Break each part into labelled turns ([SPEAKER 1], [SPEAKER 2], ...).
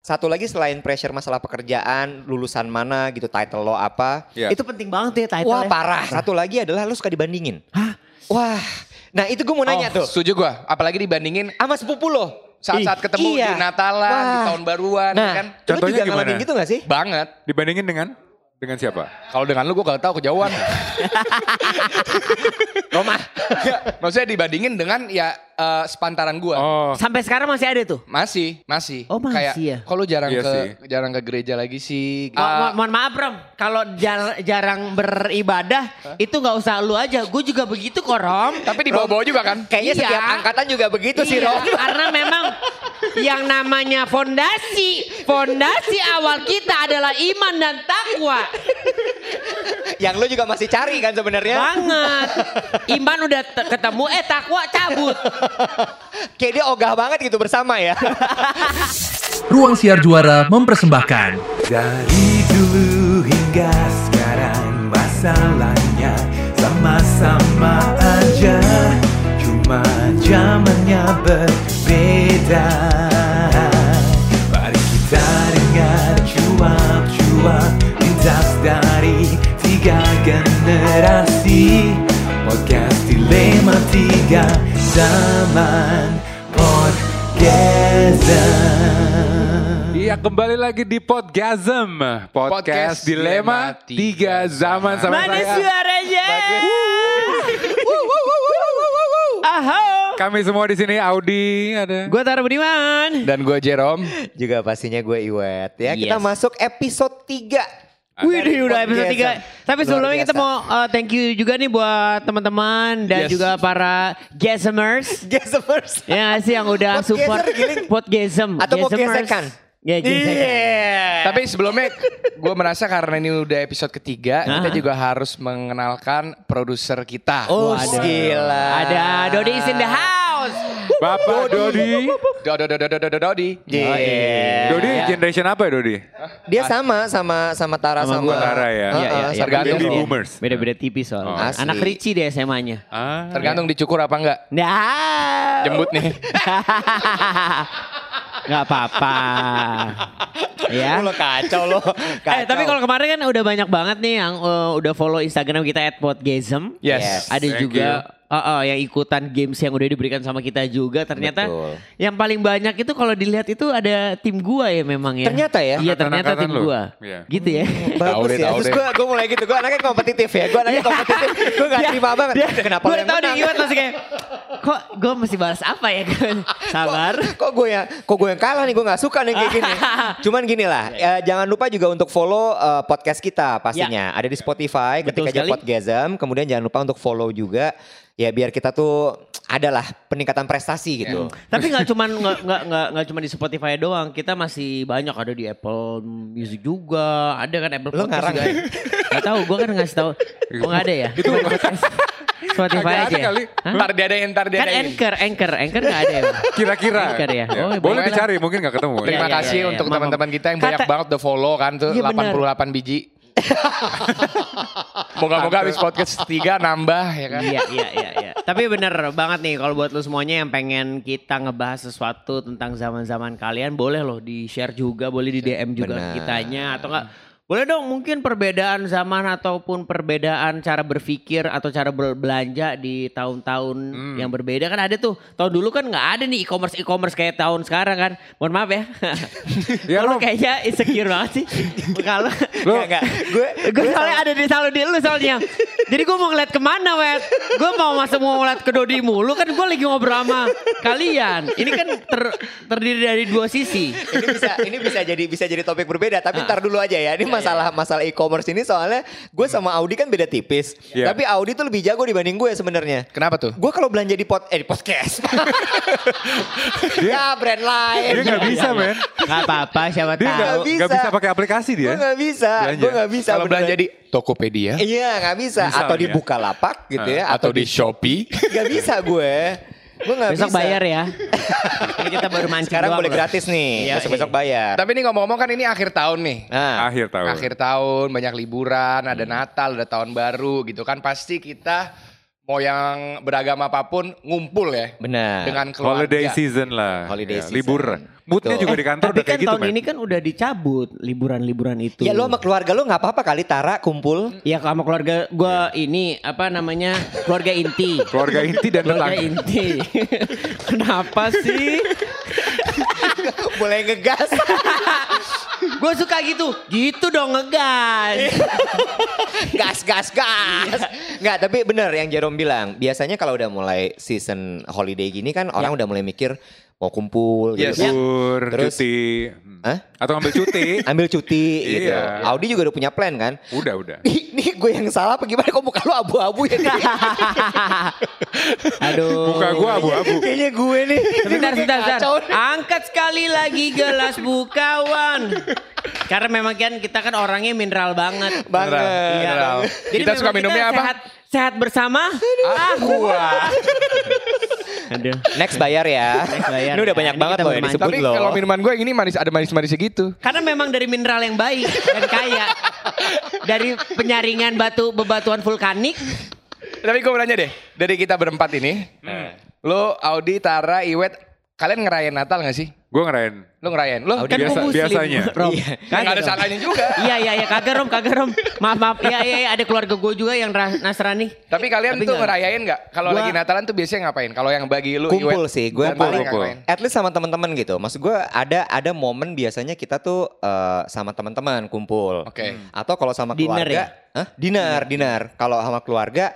[SPEAKER 1] Satu lagi selain pressure masalah pekerjaan, lulusan mana gitu, title lo apa.
[SPEAKER 2] Iya.
[SPEAKER 3] Itu penting banget ya title
[SPEAKER 1] Wah
[SPEAKER 3] ya.
[SPEAKER 1] parah. Satu lagi adalah lo suka dibandingin.
[SPEAKER 3] Hah?
[SPEAKER 1] Wah. Nah itu gue mau nanya tuh.
[SPEAKER 2] Oh, Setuju gue, apalagi dibandingin
[SPEAKER 1] Sama sepupu lo.
[SPEAKER 2] saat-saat
[SPEAKER 1] Ih,
[SPEAKER 2] ketemu
[SPEAKER 1] iya.
[SPEAKER 2] di Natalan, di
[SPEAKER 1] Wah.
[SPEAKER 2] tahun baruan,
[SPEAKER 1] Nah,
[SPEAKER 2] kan?
[SPEAKER 1] lo
[SPEAKER 4] Contohnya
[SPEAKER 1] juga ngalamin
[SPEAKER 4] gimana?
[SPEAKER 1] gitu gak sih?
[SPEAKER 2] Banget.
[SPEAKER 4] Dibandingin dengan dengan siapa?
[SPEAKER 2] Kalau dengan lu gue gak tau kejauhan.
[SPEAKER 1] Roma.
[SPEAKER 2] Maksudnya dibandingin dengan ya eh, sepantaran gue.
[SPEAKER 4] Oh,
[SPEAKER 3] Sampai sekarang masih ada tuh.
[SPEAKER 2] Masih, masih.
[SPEAKER 3] Oh, masih
[SPEAKER 2] Kayak,
[SPEAKER 3] ya?
[SPEAKER 2] Kok lu jarang
[SPEAKER 4] Iya
[SPEAKER 2] ke
[SPEAKER 4] sih.
[SPEAKER 2] jarang ke gereja lagi sih?
[SPEAKER 3] Mo-
[SPEAKER 2] Ah,
[SPEAKER 3] mo- mohon maaf Rom, kalau jar- jarang beribadah itu nggak usah lu aja. Gue juga begitu kok Rom.
[SPEAKER 2] tapi dibawa-bawa juga kan?
[SPEAKER 1] Kayaknya
[SPEAKER 3] Iya.
[SPEAKER 1] setiap angkatan juga begitu sih
[SPEAKER 3] Iya,
[SPEAKER 1] Rom.
[SPEAKER 3] Karena memang yang namanya fondasi, fondasi awal kita adalah iman dan takwa.
[SPEAKER 1] Yang lo juga masih cari kan sebenarnya.
[SPEAKER 3] Banget. Iman udah te- ketemu, eh takwa cabut.
[SPEAKER 1] Kayak dia ogah banget gitu bersama ya.
[SPEAKER 5] Ruang Siar Juara mempersembahkan
[SPEAKER 6] Dari dulu hingga sekarang masalahnya sama-sama aja Cuma zamannya berbeda Mari kita dengar cuap-cuap lintas dari tiga generasi Podcast Dilema Tiga Zaman Podcaster
[SPEAKER 4] iya kembali lagi di Podgasm. Podcast,
[SPEAKER 2] Podcast
[SPEAKER 4] Dilema
[SPEAKER 2] Dilema
[SPEAKER 4] Tiga Zaman sama
[SPEAKER 3] Mana
[SPEAKER 4] saya.
[SPEAKER 3] suaranya? Aho.
[SPEAKER 4] Kami semua di sini Audi ada.
[SPEAKER 3] Gue taruh budiman.
[SPEAKER 2] Dan gue Jerome.
[SPEAKER 1] juga pastinya gue Iwet ya. Kita
[SPEAKER 3] Yes.
[SPEAKER 1] masuk episode 3.
[SPEAKER 3] Wih, deh, udah episode
[SPEAKER 1] Luar biasa.
[SPEAKER 3] 3. Tapi
[SPEAKER 1] Luar
[SPEAKER 3] sebelumnya kita
[SPEAKER 1] biasa.
[SPEAKER 3] mau uh, thank you juga nih buat teman-teman dan
[SPEAKER 2] Yes.
[SPEAKER 3] juga para gasmers.
[SPEAKER 1] Gasmers.
[SPEAKER 3] ya nggak sih yang udah
[SPEAKER 1] Podgazer,
[SPEAKER 3] support
[SPEAKER 1] giling.
[SPEAKER 3] podgasm.
[SPEAKER 1] Atau mau
[SPEAKER 3] Gasmers.
[SPEAKER 1] gesekan.
[SPEAKER 3] Hmm,
[SPEAKER 1] Iya.
[SPEAKER 3] Ya, gesekan.
[SPEAKER 2] Tapi sebelumnya gue merasa karena ini udah episode ketiga,
[SPEAKER 1] Nah.
[SPEAKER 2] kita
[SPEAKER 3] Ah.
[SPEAKER 2] juga harus mengenalkan produser kita.
[SPEAKER 1] Oh,
[SPEAKER 3] Waduh.
[SPEAKER 1] gila.
[SPEAKER 3] Ada Dodi is in the house.
[SPEAKER 4] Bapak Dodi.
[SPEAKER 2] Dodo dodo dodo dodo Dodi.
[SPEAKER 1] Iya.
[SPEAKER 4] Dodi
[SPEAKER 2] Iya.
[SPEAKER 4] generation apa ya Dodi?
[SPEAKER 1] Dia sama sama sama Tara sama,
[SPEAKER 4] Sama gua, Tara ya.
[SPEAKER 1] Heeh,
[SPEAKER 4] Iya, iya,
[SPEAKER 1] sama
[SPEAKER 2] tergantung
[SPEAKER 1] dia.
[SPEAKER 4] Baby
[SPEAKER 2] loh.
[SPEAKER 4] boomers.
[SPEAKER 3] Beda-beda tipis soalnya.
[SPEAKER 1] Oh. Asli.
[SPEAKER 3] Anak Ricci deh SMA-nya.
[SPEAKER 4] Ah.
[SPEAKER 2] Tergantung dicukur apa enggak.
[SPEAKER 3] Nah.
[SPEAKER 2] Jembut nih.
[SPEAKER 3] Gak apa-apa. ya.
[SPEAKER 1] Lu kacau lo.
[SPEAKER 3] Eh, tapi kalau kemarin kan udah banyak banget nih yang eh, udah follow Instagram kita @podgasm.
[SPEAKER 1] Yes.
[SPEAKER 2] Yes.
[SPEAKER 3] Ada
[SPEAKER 4] Thank
[SPEAKER 3] juga
[SPEAKER 4] you.
[SPEAKER 3] oh, oh, yang ikutan games yang udah diberikan sama kita juga ternyata
[SPEAKER 1] Betul.
[SPEAKER 3] yang paling banyak itu kalau dilihat itu ada tim gua ya memang ya.
[SPEAKER 1] Ternyata ya?
[SPEAKER 3] Iya ternyata
[SPEAKER 4] Angkatan-angkatan
[SPEAKER 3] tim
[SPEAKER 4] lu.
[SPEAKER 3] gua.
[SPEAKER 4] Iya.
[SPEAKER 3] Gitu ya.
[SPEAKER 2] Tahu
[SPEAKER 1] Bagus
[SPEAKER 2] deh,
[SPEAKER 1] ya.
[SPEAKER 2] tahu
[SPEAKER 1] Terus
[SPEAKER 2] deh.
[SPEAKER 1] gue gue mulai gitu. Gue anaknya kompetitif ya. Gue
[SPEAKER 3] Iya.
[SPEAKER 1] anaknya kompetitif. Gue gak terima banget. Kenapa lo
[SPEAKER 3] gue
[SPEAKER 1] yang
[SPEAKER 3] tahu
[SPEAKER 1] menang?
[SPEAKER 3] nih Iwan masih kayak kok gue mesti balas apa ya sabar
[SPEAKER 1] Kok- Kok gue yang kok gue yang kalah nih gue nggak suka nih kayak gini. Cuman gini lah,
[SPEAKER 3] Iya.
[SPEAKER 1] eh, jangan lupa juga untuk follow eh, podcast kita pastinya. Ada di Spotify
[SPEAKER 3] Iya. Betul
[SPEAKER 1] ketika aja
[SPEAKER 3] sekali.
[SPEAKER 1] Podgasm, kemudian jangan lupa untuk follow juga ya biar kita tuh adalah peningkatan prestasi gitu.
[SPEAKER 3] tapi nggak cuman nggak nggak nggak nggak cuman di Spotify doang kita masih banyak ada di Apple Music juga ada kan Apple
[SPEAKER 1] Lo ngarang
[SPEAKER 3] juga
[SPEAKER 1] ya?
[SPEAKER 3] nggak tahu gue kan ngasih tahu oh, nggak ada ya itu Spotify
[SPEAKER 4] Agak ada
[SPEAKER 3] aja ya?
[SPEAKER 4] kali.
[SPEAKER 3] Hah?
[SPEAKER 2] Ntar diadain, ntar
[SPEAKER 3] kan
[SPEAKER 2] diadain.
[SPEAKER 3] anchor anchor anchor nggak ada ya
[SPEAKER 4] Kira-kira.
[SPEAKER 3] Anchor ya?
[SPEAKER 4] Ya.
[SPEAKER 3] Oh,
[SPEAKER 4] Boleh
[SPEAKER 3] boleh.
[SPEAKER 4] dicari mungkin nggak ketemu.
[SPEAKER 3] Iya,
[SPEAKER 2] Terima
[SPEAKER 3] iya,
[SPEAKER 2] kasih
[SPEAKER 3] iya, iya.
[SPEAKER 2] untuk
[SPEAKER 3] Maaf,
[SPEAKER 2] teman-teman kita yang banyak
[SPEAKER 3] Kata-
[SPEAKER 2] banget the follow kan tuh
[SPEAKER 3] Iya, benar.
[SPEAKER 2] 88 biji. Moga-moga habis podcast ketiga nambah ya kan.
[SPEAKER 3] Iya iya iya iya. Tapi bener banget nih kalau buat lo semuanya yang pengen kita ngebahas sesuatu tentang zaman-zaman kalian boleh loh di-share juga, boleh di DM juga
[SPEAKER 1] Benar.
[SPEAKER 3] kitanya atau enggak boleh dong mungkin perbedaan zaman ataupun perbedaan cara berpikir atau cara berbelanja di tahun-tahun yang berbeda kan ada tuh. Tahun dulu kan nggak ada nih e-commerce e-commerce kayak tahun sekarang kan. Mohon maaf ya.
[SPEAKER 4] Ya,
[SPEAKER 3] Kalau
[SPEAKER 4] Rom.
[SPEAKER 3] kayaknya insecure banget sih. Kalau
[SPEAKER 1] Nggak,
[SPEAKER 4] Lo-
[SPEAKER 1] nggak. Gue
[SPEAKER 3] gue soalnya ada di selalu di lu soalnya. Jadi gue mau ngeliat kemana wet. Gue mau masuk mau ngeliat ke Dodi mulu kan gue lagi ngobrol sama kalian. Ini kan ter- terdiri dari dua sisi.
[SPEAKER 1] ini bisa ini bisa jadi bisa jadi topik berbeda
[SPEAKER 4] Ah.
[SPEAKER 1] tapi ntar dulu aja ya
[SPEAKER 4] Iya,
[SPEAKER 1] ini masalah masalah e-commerce ini soalnya gue sama Audi kan beda tipis
[SPEAKER 4] Hmm. Iya.
[SPEAKER 1] tapi Audi tuh lebih jago dibanding gue sebenarnya
[SPEAKER 2] Kenapa tuh?
[SPEAKER 1] gue kalau belanja di pot eh di podcast ya brand lain
[SPEAKER 4] Dia nggak bisa men.
[SPEAKER 3] Gak Iya, apa-apa siapa
[SPEAKER 4] Dia nggak
[SPEAKER 3] tahu.
[SPEAKER 1] bisa.
[SPEAKER 4] nggak bisa pakai aplikasi
[SPEAKER 1] gue
[SPEAKER 4] dia.
[SPEAKER 1] nggak bisa
[SPEAKER 4] Belanja.
[SPEAKER 1] gue nggak bisa
[SPEAKER 2] Kalau
[SPEAKER 1] beneran.
[SPEAKER 2] belanja di Tokopedia
[SPEAKER 1] iya nggak bisa
[SPEAKER 4] Misalnya.
[SPEAKER 1] atau di Bukalapak gitu ya
[SPEAKER 3] Iya,
[SPEAKER 4] Ah,
[SPEAKER 2] atau di Shopee.
[SPEAKER 1] nggak bisa gue gue nggak bisa
[SPEAKER 3] Besok bayar ya. Ini kita baru mancing
[SPEAKER 1] sekarang
[SPEAKER 3] doang
[SPEAKER 1] boleh
[SPEAKER 3] loh.
[SPEAKER 1] gratis nih
[SPEAKER 3] Iya,
[SPEAKER 1] besok besok bayar
[SPEAKER 2] Tapi ini ngomong-ngomong kan ini akhir tahun nih.
[SPEAKER 1] nah
[SPEAKER 4] Akhir tahun.
[SPEAKER 2] Akhir tahun, banyak liburan, ada
[SPEAKER 3] Hmm.
[SPEAKER 2] Natal, ada tahun baru gitu kan. Pasti kita mau yang beragama apapun ngumpul ya.
[SPEAKER 1] benar
[SPEAKER 2] Dengan keluarga.
[SPEAKER 4] Holiday season lah.
[SPEAKER 1] Holiday
[SPEAKER 4] Ya,
[SPEAKER 1] season.
[SPEAKER 4] Libur. Moodnya
[SPEAKER 1] Betul.
[SPEAKER 4] juga di kantor
[SPEAKER 3] Tapi
[SPEAKER 4] udah
[SPEAKER 3] kan
[SPEAKER 4] kayak gitu
[SPEAKER 3] tahun
[SPEAKER 4] men.
[SPEAKER 3] ini kan udah dicabut liburan-liburan itu.
[SPEAKER 1] Ya lu sama keluarga lu nggak apa-apa kali Tara kumpul.
[SPEAKER 3] Ya sama keluarga gue ini apa namanya keluarga inti.
[SPEAKER 4] Iya. Keluarga inti dan
[SPEAKER 3] keluarga
[SPEAKER 4] tetangga.
[SPEAKER 3] inti. Kenapa sih?
[SPEAKER 1] Boleh ngegas.
[SPEAKER 3] Gue suka gitu. Gitu dong ngegas.
[SPEAKER 2] Iya.
[SPEAKER 1] gas gas gas nggak tapi bener yang Jerome bilang biasanya kalau udah mulai season holiday gini kan orang udah mulai mikir mau kumpul
[SPEAKER 2] Yes.
[SPEAKER 4] Ya.
[SPEAKER 1] gitu
[SPEAKER 4] Libur,
[SPEAKER 1] Terus-
[SPEAKER 4] cuti. Hmm.
[SPEAKER 1] Hah?
[SPEAKER 4] Atau ngambil cuti.
[SPEAKER 1] ambil cuti gitu
[SPEAKER 4] Iya.
[SPEAKER 1] Audi juga udah punya plan kan
[SPEAKER 4] udah, udah.
[SPEAKER 1] Ih, ini gue yang salah apa gimana kok muka lu abu-abu ya Di?
[SPEAKER 3] Aduh.
[SPEAKER 4] Muka gua abu-abu.
[SPEAKER 1] kayaknya gue nih
[SPEAKER 3] Sebentar,
[SPEAKER 1] Gue
[SPEAKER 3] sebentar,
[SPEAKER 1] kayak
[SPEAKER 3] sebentar.
[SPEAKER 1] kacau nih.
[SPEAKER 3] Angkat sekali lagi gelas bukawan. Karena memang kan kita kan orangnya mineral banget. Ya.
[SPEAKER 1] banget
[SPEAKER 2] Mineral. kita
[SPEAKER 3] memang
[SPEAKER 2] suka minumnya apa? Ah,
[SPEAKER 3] Sehat, sehat bersama. Aqua. Aduh.
[SPEAKER 1] next bayar ya
[SPEAKER 3] bayar
[SPEAKER 1] ini udah
[SPEAKER 3] ya.
[SPEAKER 1] banyak
[SPEAKER 3] Ini
[SPEAKER 1] banget
[SPEAKER 3] kita
[SPEAKER 1] loh yang
[SPEAKER 3] bermain.
[SPEAKER 1] disebut
[SPEAKER 2] Tapi
[SPEAKER 1] loh
[SPEAKER 2] kalau minuman gue yang ini manis ada manis-manisnya gitu.
[SPEAKER 3] Karena memang dari mineral yang baik dan kaya. Dari penyaringan batu bebatuan vulkanik.
[SPEAKER 2] Tapi gue mau nanya deh, dari kita berempat ini, lo Audi, Tara, Iwet, kalian ngerayain Natal gak sih?
[SPEAKER 4] Gue ngerayain.
[SPEAKER 2] Lo ngerayain? Lo
[SPEAKER 3] kan
[SPEAKER 4] Audi biasa- biasanya.
[SPEAKER 3] Rom.
[SPEAKER 1] Iya.
[SPEAKER 2] Kan
[SPEAKER 3] Kagak
[SPEAKER 2] ada
[SPEAKER 3] dong.
[SPEAKER 2] salahnya juga.
[SPEAKER 3] Iya iya iya kagak Rom kagak Rom. Maaf maaf. Iya iya iya, ada keluarga gue juga yang ra- Nasrani.
[SPEAKER 2] Tapi kalian
[SPEAKER 3] Tapi
[SPEAKER 2] tuh
[SPEAKER 3] nggak.
[SPEAKER 2] ngerayain nggak? Kalau
[SPEAKER 3] Gua-
[SPEAKER 2] lagi Natalan tuh biasanya ngapain? Kalau yang bagi lu
[SPEAKER 1] kumpul
[SPEAKER 2] Iwet,
[SPEAKER 1] sih gue
[SPEAKER 2] dan
[SPEAKER 1] paling
[SPEAKER 2] Tara
[SPEAKER 4] kumpul.
[SPEAKER 2] ngapain?
[SPEAKER 1] at least sama teman-teman gitu maksud gue ada ada momen biasanya kita tuh eh, sama teman-teman kumpul
[SPEAKER 2] Oke.
[SPEAKER 1] atau kalau sama
[SPEAKER 3] Hmm. Dinner ya?
[SPEAKER 1] keluarga Hah? dinner dinner kalau sama keluarga